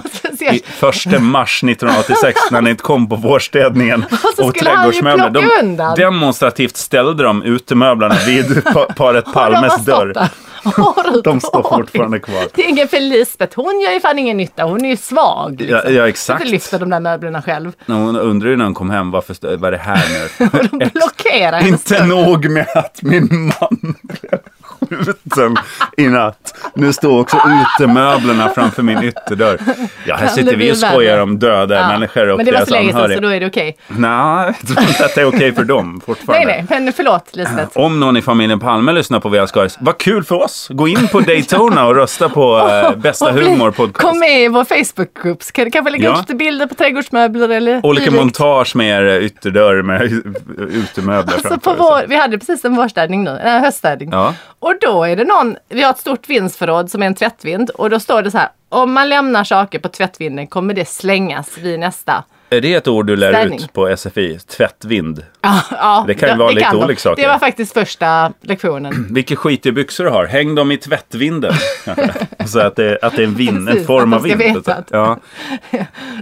[SPEAKER 2] I första mars 1986 när ni inte kom på vårstädningen
[SPEAKER 1] så skulle han ju plocka undan.
[SPEAKER 2] demonstrativt ställde de utemöblerna vid pa- paret
[SPEAKER 1] Och
[SPEAKER 2] Palmes
[SPEAKER 1] de har
[SPEAKER 2] dörr.
[SPEAKER 1] stått där År ut
[SPEAKER 2] De
[SPEAKER 1] och
[SPEAKER 2] står
[SPEAKER 1] år in.
[SPEAKER 2] fortfarande kvar.
[SPEAKER 1] Det är ingen för Lisbeth. Hon gör ju fan ingen nytta. Hon är ju svag. Liksom.
[SPEAKER 2] Ja, ja, exakt.
[SPEAKER 1] Inte lyfter de där möblerna själv.
[SPEAKER 2] Hon undrar ju när hon kom hem, varför, vad är det här nu?
[SPEAKER 1] Blockera hennes
[SPEAKER 2] Inte nog med att min man blev sjuk. minuten i natt. Nu står också utemöblerna framför min ytterdörr. Ja, här
[SPEAKER 1] Kan det
[SPEAKER 2] sitter vi
[SPEAKER 1] bli
[SPEAKER 2] och skojar
[SPEAKER 1] värre?
[SPEAKER 2] om döda
[SPEAKER 1] Ja.
[SPEAKER 2] människor och
[SPEAKER 1] Men det var
[SPEAKER 2] deras
[SPEAKER 1] så länge sedan så
[SPEAKER 2] anhöriga.
[SPEAKER 1] då är det okej.
[SPEAKER 2] Nej, jag tror inte att det är okej för dem fortfarande.
[SPEAKER 1] Nej, nej, men förlåt Lisbeth.
[SPEAKER 2] Om någon i familjen Palme lyssnar på Via Skaris, vad kul för oss! Gå in på Daytona och rösta på eh, bästa
[SPEAKER 1] Och bli-
[SPEAKER 2] humor podcast.
[SPEAKER 1] Kom med i vår Facebookgrupp. så kan du kanske lägga
[SPEAKER 2] Ja.
[SPEAKER 1] ut lite bilder på trädgårdsmöbler eller
[SPEAKER 2] Olika
[SPEAKER 1] dylikt.
[SPEAKER 2] montage med er ytterdörr med utemöbler
[SPEAKER 1] Alltså
[SPEAKER 2] framför
[SPEAKER 1] på
[SPEAKER 2] oss.
[SPEAKER 1] vår, vi hade precis en vårstädning nu, en höststädning.
[SPEAKER 2] Ja.
[SPEAKER 1] Och då är det någon, vi har ett stort vindsförråd som är en tvättvind och då står det så här, om man lämnar saker på tvättvinden kommer det slängas vid nästa.
[SPEAKER 2] Är det ett ord du lär
[SPEAKER 1] Städning.
[SPEAKER 2] ut på SFI? Tvättvind.
[SPEAKER 1] Ja, ja,
[SPEAKER 2] Ah. Det kan ju vara lite
[SPEAKER 1] de.
[SPEAKER 2] olika saker.
[SPEAKER 1] Det var faktiskt första lektionen.
[SPEAKER 2] Vilken skitig byxor du har. Häng dem i tvättvinden. så att det, att det är en vind, en
[SPEAKER 1] Precis,
[SPEAKER 2] form
[SPEAKER 1] att
[SPEAKER 2] av
[SPEAKER 1] de ska
[SPEAKER 2] vind.
[SPEAKER 1] veta att-
[SPEAKER 2] Ja.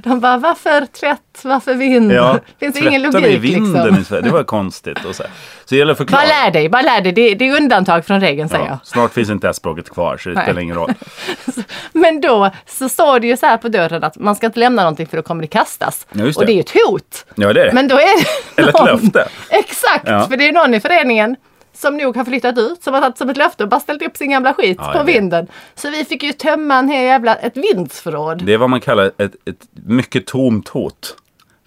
[SPEAKER 1] De bara, varför tvätt, varför vind?
[SPEAKER 2] Ja.
[SPEAKER 1] Finns det ingen
[SPEAKER 2] Tvättar vi
[SPEAKER 1] logik
[SPEAKER 2] vinden
[SPEAKER 1] liksom?
[SPEAKER 2] i Sverige. Det var konstigt. Och så, här. så det gäller att förklara.
[SPEAKER 1] Bara lär dig, bara lär dig. Det, det är undantag från regeln säger jag.
[SPEAKER 2] Ja, snart finns inte det här språket kvar så det
[SPEAKER 1] Nej.
[SPEAKER 2] spelar ingen roll.
[SPEAKER 1] Men då så står det ju så här på dörren att man ska inte lämna någonting för då kommer det kastas.
[SPEAKER 2] Ja, just
[SPEAKER 1] Och
[SPEAKER 2] det.
[SPEAKER 1] det är ju ett hot.
[SPEAKER 2] Ja, det är det.
[SPEAKER 1] Men då är det
[SPEAKER 2] Eller ett
[SPEAKER 1] någon-
[SPEAKER 2] löfte.
[SPEAKER 1] Exakt,
[SPEAKER 2] Ja.
[SPEAKER 1] för det är någon i föreningen som nog har flyttat ut, som har tagit som ett löfte och bara ställt upp sin gamla skit
[SPEAKER 2] Ja, jag
[SPEAKER 1] på
[SPEAKER 2] vet.
[SPEAKER 1] vinden. Så vi fick ju tömma en hel jävla, ett vindsförråd.
[SPEAKER 2] Det är vad man kallar ett, ett mycket tomt hot.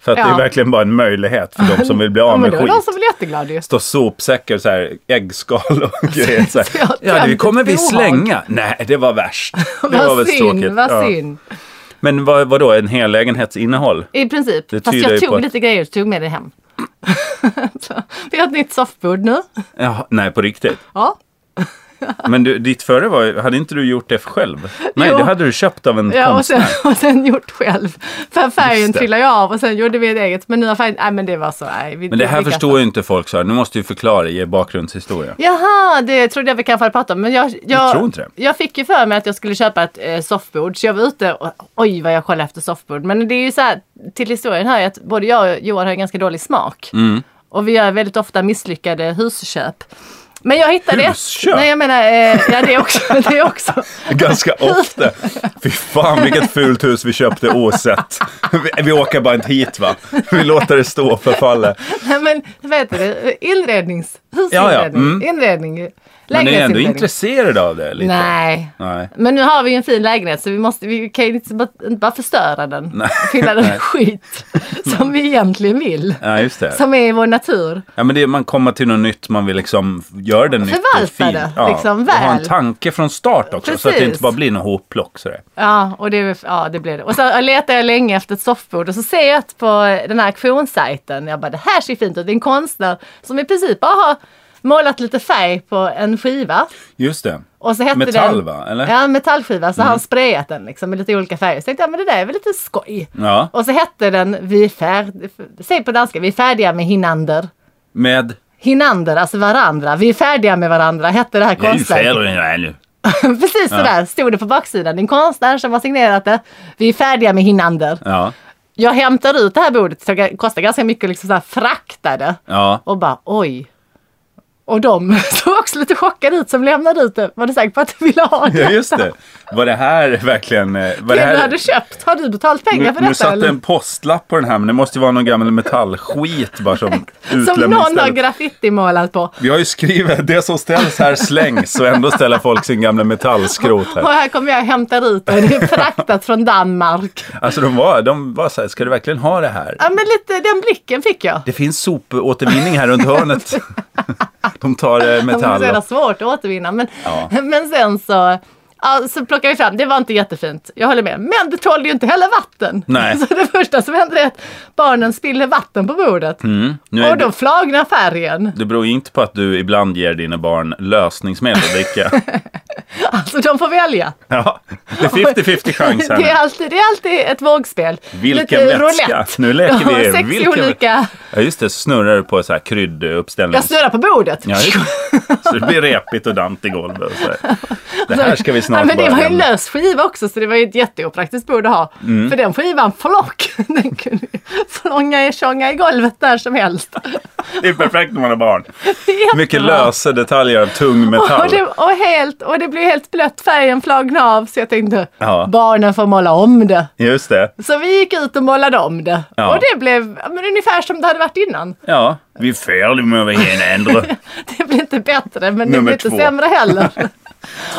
[SPEAKER 2] För att det är
[SPEAKER 1] Ja.
[SPEAKER 2] verkligen bara en möjlighet för de som vill bli
[SPEAKER 1] Ja,
[SPEAKER 2] av
[SPEAKER 1] men
[SPEAKER 2] med
[SPEAKER 1] det var
[SPEAKER 2] skit.
[SPEAKER 1] någon som blev jätteglad ju.
[SPEAKER 2] står sopsäckar och så här, äggskal och grejer. Så
[SPEAKER 1] Så jag
[SPEAKER 2] här.
[SPEAKER 1] har
[SPEAKER 2] Ja, det
[SPEAKER 1] tömt
[SPEAKER 2] kommer
[SPEAKER 1] ett
[SPEAKER 2] vi
[SPEAKER 1] bohag.
[SPEAKER 2] slänga. Nej, det var värst. Det var väl
[SPEAKER 1] Vad
[SPEAKER 2] tråkigt.
[SPEAKER 1] synd, vad
[SPEAKER 2] Ja.
[SPEAKER 1] synd.
[SPEAKER 2] Men vad, vadå, en hellägenhetsinnehåll?
[SPEAKER 1] I princip.
[SPEAKER 2] Det
[SPEAKER 1] Fast
[SPEAKER 2] tyder ju
[SPEAKER 1] jag
[SPEAKER 2] på
[SPEAKER 1] tog
[SPEAKER 2] att-
[SPEAKER 1] lite grejer och tog med det hem. så, vi har ett nytt soffbord nu.
[SPEAKER 2] Ja, nej, på riktigt.
[SPEAKER 1] Ja.
[SPEAKER 2] Men du, ditt förra var ju- hade inte du gjort det själv? Nej,
[SPEAKER 1] Jo.
[SPEAKER 2] det hade du köpt av en
[SPEAKER 1] Ja, och
[SPEAKER 2] konstnär.
[SPEAKER 1] sen, och sen gjort själv. För färgen
[SPEAKER 2] Just det.
[SPEAKER 1] trillade ju av och sen gjorde vi ett eget. Men nu har färgen, nej men det var så, nej. Vi,
[SPEAKER 2] Men det här
[SPEAKER 1] vi
[SPEAKER 2] förstår ju inte folk så här. Nu måste du förklara, ge bakgrundshistoria.
[SPEAKER 1] Jaha, det trodde jag vi kanske hade pratat om. Men jag, jag,
[SPEAKER 2] tror inte det.
[SPEAKER 1] jag fick ju för mig att jag skulle köpa ett eh, soffbord. Så jag var ute och oj vad jag kollade efter soffbord. Men det är ju så här, till historien här att både jag och Johan har ju ganska dålig smak.
[SPEAKER 2] Mm.
[SPEAKER 1] Och vi gör väldigt ofta misslyckade husköp. Men jag hittade
[SPEAKER 2] Husköp?
[SPEAKER 1] ett. Nej jag menar, eh, ja det är också. det är också.
[SPEAKER 2] Ganska ofta. Fy fan vilket fult hus vi köpte osett. Vi, vi åker bara inte hit va. Vi låter det stå och förfalla.
[SPEAKER 1] Nej, men vad heter det? Inrednings, husinredning,
[SPEAKER 2] Ja, ja, mm.
[SPEAKER 1] inredning.
[SPEAKER 2] Men ni är ändå
[SPEAKER 1] lägenhetsinredning.
[SPEAKER 2] intresserade av det? Lite.
[SPEAKER 1] Nej.
[SPEAKER 2] Nej.
[SPEAKER 1] Men nu har vi ju en fin lägenhet så vi, måste, vi kan ju inte bara, inte bara förstöra den. Fylla den med skit som vi egentligen vill.
[SPEAKER 2] Ja, just det.
[SPEAKER 1] Som är i vår natur.
[SPEAKER 2] Ja, men det är, man kommer till något nytt, man vill liksom göra det nytt och
[SPEAKER 1] Förvalta
[SPEAKER 2] fint.
[SPEAKER 1] det, liksom,
[SPEAKER 2] och ha en
[SPEAKER 1] väl.
[SPEAKER 2] tanke från start också, så att det
[SPEAKER 1] Precis.
[SPEAKER 2] inte bara blir något hopplock. Sådär.
[SPEAKER 1] Ja, och det, ja, det blev det. Och så letade jag länge efter ett soffbord och så ser jag ett på den här auktionssajten. Jag bara, det här ser fint ut. Det är en konstnär som i princip bara har målat lite färg på en skiva.
[SPEAKER 2] Just det.
[SPEAKER 1] Och så hette
[SPEAKER 2] Metall,
[SPEAKER 1] den,
[SPEAKER 2] va? Eller? Mm.
[SPEAKER 1] Ja, metallskiva. Så har han sprayat den liksom, med lite olika färger. Så tänkte jag, men det där är väl lite skoj.
[SPEAKER 2] Ja.
[SPEAKER 1] Och så hette den Vi är färdiga, säg på danska, vi är färdiga med Hinander.
[SPEAKER 2] Med...
[SPEAKER 1] Hinander, alltså varandra. Vi är färdiga med varandra, hette det här
[SPEAKER 2] Jag är ju
[SPEAKER 1] konstverket.
[SPEAKER 2] fel i den här nu.
[SPEAKER 1] Precis sådär stod det på baksidan. En konstnär som har signerat det. Vi är färdiga med Hinander.
[SPEAKER 2] Ja.
[SPEAKER 1] Jag hämtar ut det här bordet, så det kostar ganska mycket att liksom såhär frakta det.
[SPEAKER 2] Ja.
[SPEAKER 1] Och bara oj. Och de såg också lite chockade ut som lämnade ut det. Var du säker på att du ville ha det?
[SPEAKER 2] ja, just det. Var det här verkligen... eh, Var det
[SPEAKER 1] Det du
[SPEAKER 2] här...
[SPEAKER 1] hade köpt, har du betalat pengar
[SPEAKER 2] Nu,
[SPEAKER 1] för
[SPEAKER 2] nu
[SPEAKER 1] detta?
[SPEAKER 2] satt
[SPEAKER 1] eller?
[SPEAKER 2] det en postlapp på den här, men det måste ju vara någon gammal metallskit bara som
[SPEAKER 1] Som någon har
[SPEAKER 2] utlämningsställe.
[SPEAKER 1] graffitimålat på.
[SPEAKER 2] Vi har ju skrivit det som ställs här slängs och ändå ställer folk sin gamla metallskrot här.
[SPEAKER 1] Och här kommer jag och hämtar ut det. Det är fraktat från Danmark.
[SPEAKER 2] Alltså de var, de var så här, ska du verkligen ha det här?
[SPEAKER 1] Ja men lite den blicken fick jag.
[SPEAKER 2] Det finns sopåtervinning här runt hörnet. De tar eh,
[SPEAKER 1] Det var så
[SPEAKER 2] metall.
[SPEAKER 1] jävla
[SPEAKER 2] och-
[SPEAKER 1] svårt att återvinna. Men,
[SPEAKER 2] Ja.
[SPEAKER 1] men sen så, ja, så plockade vi fram, det var inte jättefint. Jag håller med. Men det tålde ju inte heller vatten.
[SPEAKER 2] Nej.
[SPEAKER 1] Så det första som hände är att barnen spiller vatten på bordet.
[SPEAKER 2] Mm. Nu är
[SPEAKER 1] Och
[SPEAKER 2] det,
[SPEAKER 1] då flagnar färgen.
[SPEAKER 2] det beror ju inte på att du ibland ger dina barn lösningsmedel att dricka.
[SPEAKER 1] Alltså de får välja.
[SPEAKER 2] Ja, det är 50-50 chans här
[SPEAKER 1] Det är
[SPEAKER 2] nu.
[SPEAKER 1] alltid, det är alltid ett vågspel.
[SPEAKER 2] Vilken vätska.
[SPEAKER 1] roulette.
[SPEAKER 2] Nu leker vi.
[SPEAKER 1] Ja, sex
[SPEAKER 2] Vilken-
[SPEAKER 1] olika.
[SPEAKER 2] Ja, just det. Snurrar du på så här krydduppställning.
[SPEAKER 1] Jag snurrar på bordet.
[SPEAKER 2] Ja, just det. så det blir repigt och dant i golvet. och Så här. Det här ska vi snart
[SPEAKER 1] men det
[SPEAKER 2] börja
[SPEAKER 1] var ju en
[SPEAKER 2] lämna.
[SPEAKER 1] lös skiva också så det var ju ett jätteopraktiskt bord att ha.
[SPEAKER 2] Mm.
[SPEAKER 1] För den skivan flock. Den kunde ju flånga i tjonga i golvet när som helst.
[SPEAKER 2] Det är perfekt när man har barn.
[SPEAKER 1] Jättebra.
[SPEAKER 2] Mycket lösa detaljer av tung metall.
[SPEAKER 1] Och det, och, helt, och det blev helt blött, färgen flagna av så jag tänkte
[SPEAKER 2] Ja.
[SPEAKER 1] barnen får måla om det.
[SPEAKER 2] Just det.
[SPEAKER 1] Så vi gick ut och målade om det.
[SPEAKER 2] Ja.
[SPEAKER 1] Och det blev ja, men ungefär som det hade varit innan.
[SPEAKER 2] Ja, vi är färdiga med att hinna ändra.
[SPEAKER 1] Det blev inte bättre men det
[SPEAKER 2] Nummer
[SPEAKER 1] blev inte
[SPEAKER 2] två.
[SPEAKER 1] sämre heller.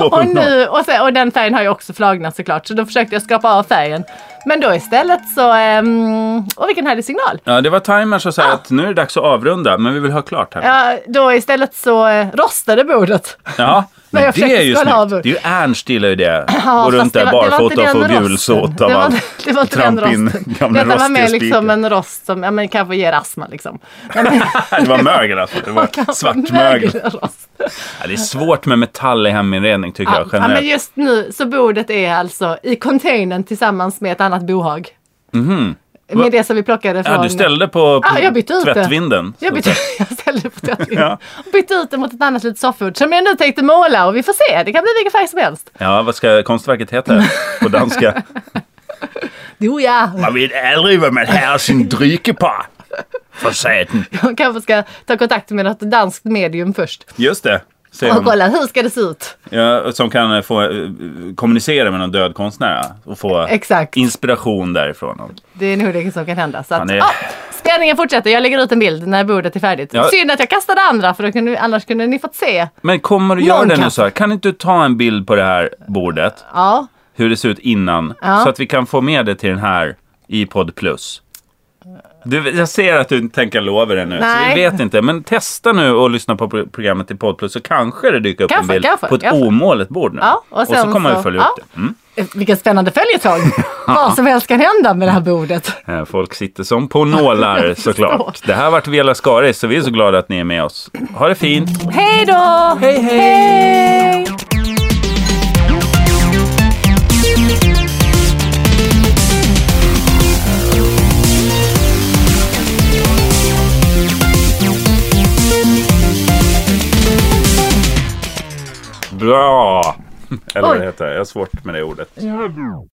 [SPEAKER 1] och,
[SPEAKER 2] 2.0.
[SPEAKER 1] nu, och, sen, och den färgen har ju också flagnat såklart så då försökte jag skapa av färgen. Men då istället så, ehm, och vilken härlig signal.
[SPEAKER 2] Ja, det var timern som sa att nu är det dags att avrunda, men vi vill ha klart här.
[SPEAKER 1] Ja, då istället så eh, rostade bordet.
[SPEAKER 2] Ja, men
[SPEAKER 1] jag
[SPEAKER 2] det
[SPEAKER 1] försökte
[SPEAKER 2] är ju
[SPEAKER 1] skala
[SPEAKER 2] snyggt.
[SPEAKER 1] av.
[SPEAKER 2] Det är ju Ernst gillar ju det.
[SPEAKER 1] Ja,
[SPEAKER 2] Gå
[SPEAKER 1] fast
[SPEAKER 2] runt
[SPEAKER 1] det
[SPEAKER 2] där
[SPEAKER 1] var- det var inte
[SPEAKER 2] barfota och
[SPEAKER 1] den
[SPEAKER 2] få
[SPEAKER 1] rosten.
[SPEAKER 2] gulsåt
[SPEAKER 1] Det
[SPEAKER 2] av
[SPEAKER 1] var-
[SPEAKER 2] allt.
[SPEAKER 1] Det var inte den
[SPEAKER 2] Trampa in
[SPEAKER 1] rosten.
[SPEAKER 2] gamla
[SPEAKER 1] Detta var
[SPEAKER 2] rostiga
[SPEAKER 1] mer liksom
[SPEAKER 2] spikar.
[SPEAKER 1] en rost som ja, men kanske ger astma liksom. Ja, men-
[SPEAKER 2] Det var mögel alltså. Det var
[SPEAKER 1] kanske
[SPEAKER 2] svart mögel.
[SPEAKER 1] mögelrost.
[SPEAKER 2] Ja, det är svårt med metall i heminredning tycker
[SPEAKER 1] Ja,
[SPEAKER 2] jag
[SPEAKER 1] ja, men
[SPEAKER 2] generellt.
[SPEAKER 1] just nu så bordet är alltså i containern tillsammans med ett annat bohag.
[SPEAKER 2] Mhm. Va?
[SPEAKER 1] Med det som vi plockade från...
[SPEAKER 2] Ja, du ställde på, på
[SPEAKER 1] Ja, jag bytte ut det.
[SPEAKER 2] tvättvinden.
[SPEAKER 1] Jag, bytte, jag ställde på tvättvinden.
[SPEAKER 2] Ja.
[SPEAKER 1] Och bytte ut det mot ett annat litet soffbord som jag nu tänkte måla och vi får se. Det kan bli vilken färg som helst.
[SPEAKER 2] Ja, vad ska konstverket heta på danska?
[SPEAKER 1] Jo ja,
[SPEAKER 2] Man vet aldrig vad man har sin dryke på. För satan.
[SPEAKER 1] jag kanske ska ta kontakt med något danskt medium först.
[SPEAKER 2] Just det. Säger
[SPEAKER 1] Och
[SPEAKER 2] hon.
[SPEAKER 1] kolla hur ska det se ut?
[SPEAKER 2] Ja, som kan eh, få eh, kommunicera med någon död konstnär ja, och få
[SPEAKER 1] Exakt.
[SPEAKER 2] inspiration därifrån.
[SPEAKER 1] Det är nog det som kan hända. Så att,
[SPEAKER 2] Han är-
[SPEAKER 1] ah, spänningen fortsätter. Jag lägger ut en bild när bordet är färdigt.
[SPEAKER 2] Ja.
[SPEAKER 1] Synd att jag kastade andra för då kunde, annars kunde ni fått se.
[SPEAKER 2] Men kommer du göra
[SPEAKER 1] Någon
[SPEAKER 2] det nu
[SPEAKER 1] kan-
[SPEAKER 2] så här? Kan inte du ta en bild på det här bordet?
[SPEAKER 1] Ja,
[SPEAKER 2] Hur det ser ut innan.
[SPEAKER 1] Ja.
[SPEAKER 2] Så att vi kan få med det till den här i podd plus. Du, jag ser att du tänker lova det nu. Så
[SPEAKER 1] Nej.
[SPEAKER 2] vi vet inte. Men testa nu och lyssna på pro- programmet i podd plus så kanske det dyker upp en
[SPEAKER 1] Kanske,
[SPEAKER 2] bild
[SPEAKER 1] kanske,
[SPEAKER 2] på ett
[SPEAKER 1] kanske.
[SPEAKER 2] omålet bord nu.
[SPEAKER 1] Ja, och
[SPEAKER 2] så
[SPEAKER 1] sen
[SPEAKER 2] kommer
[SPEAKER 1] så-
[SPEAKER 2] vi följa
[SPEAKER 1] ja.
[SPEAKER 2] upp det. Mm.
[SPEAKER 1] Eh, vilken spännande följetong. Vad som helst kan hända med det här bordet.
[SPEAKER 2] Eh, Folk sitter som på nålar såklart. Det här har varit Vela Skaris så vi är så glada att ni är med oss. Ha det fint!
[SPEAKER 1] Hej då!
[SPEAKER 2] hej.
[SPEAKER 1] hej.
[SPEAKER 2] Bra! Eller vad
[SPEAKER 1] Oj.
[SPEAKER 2] det heter. Jag har svårt med det ordet.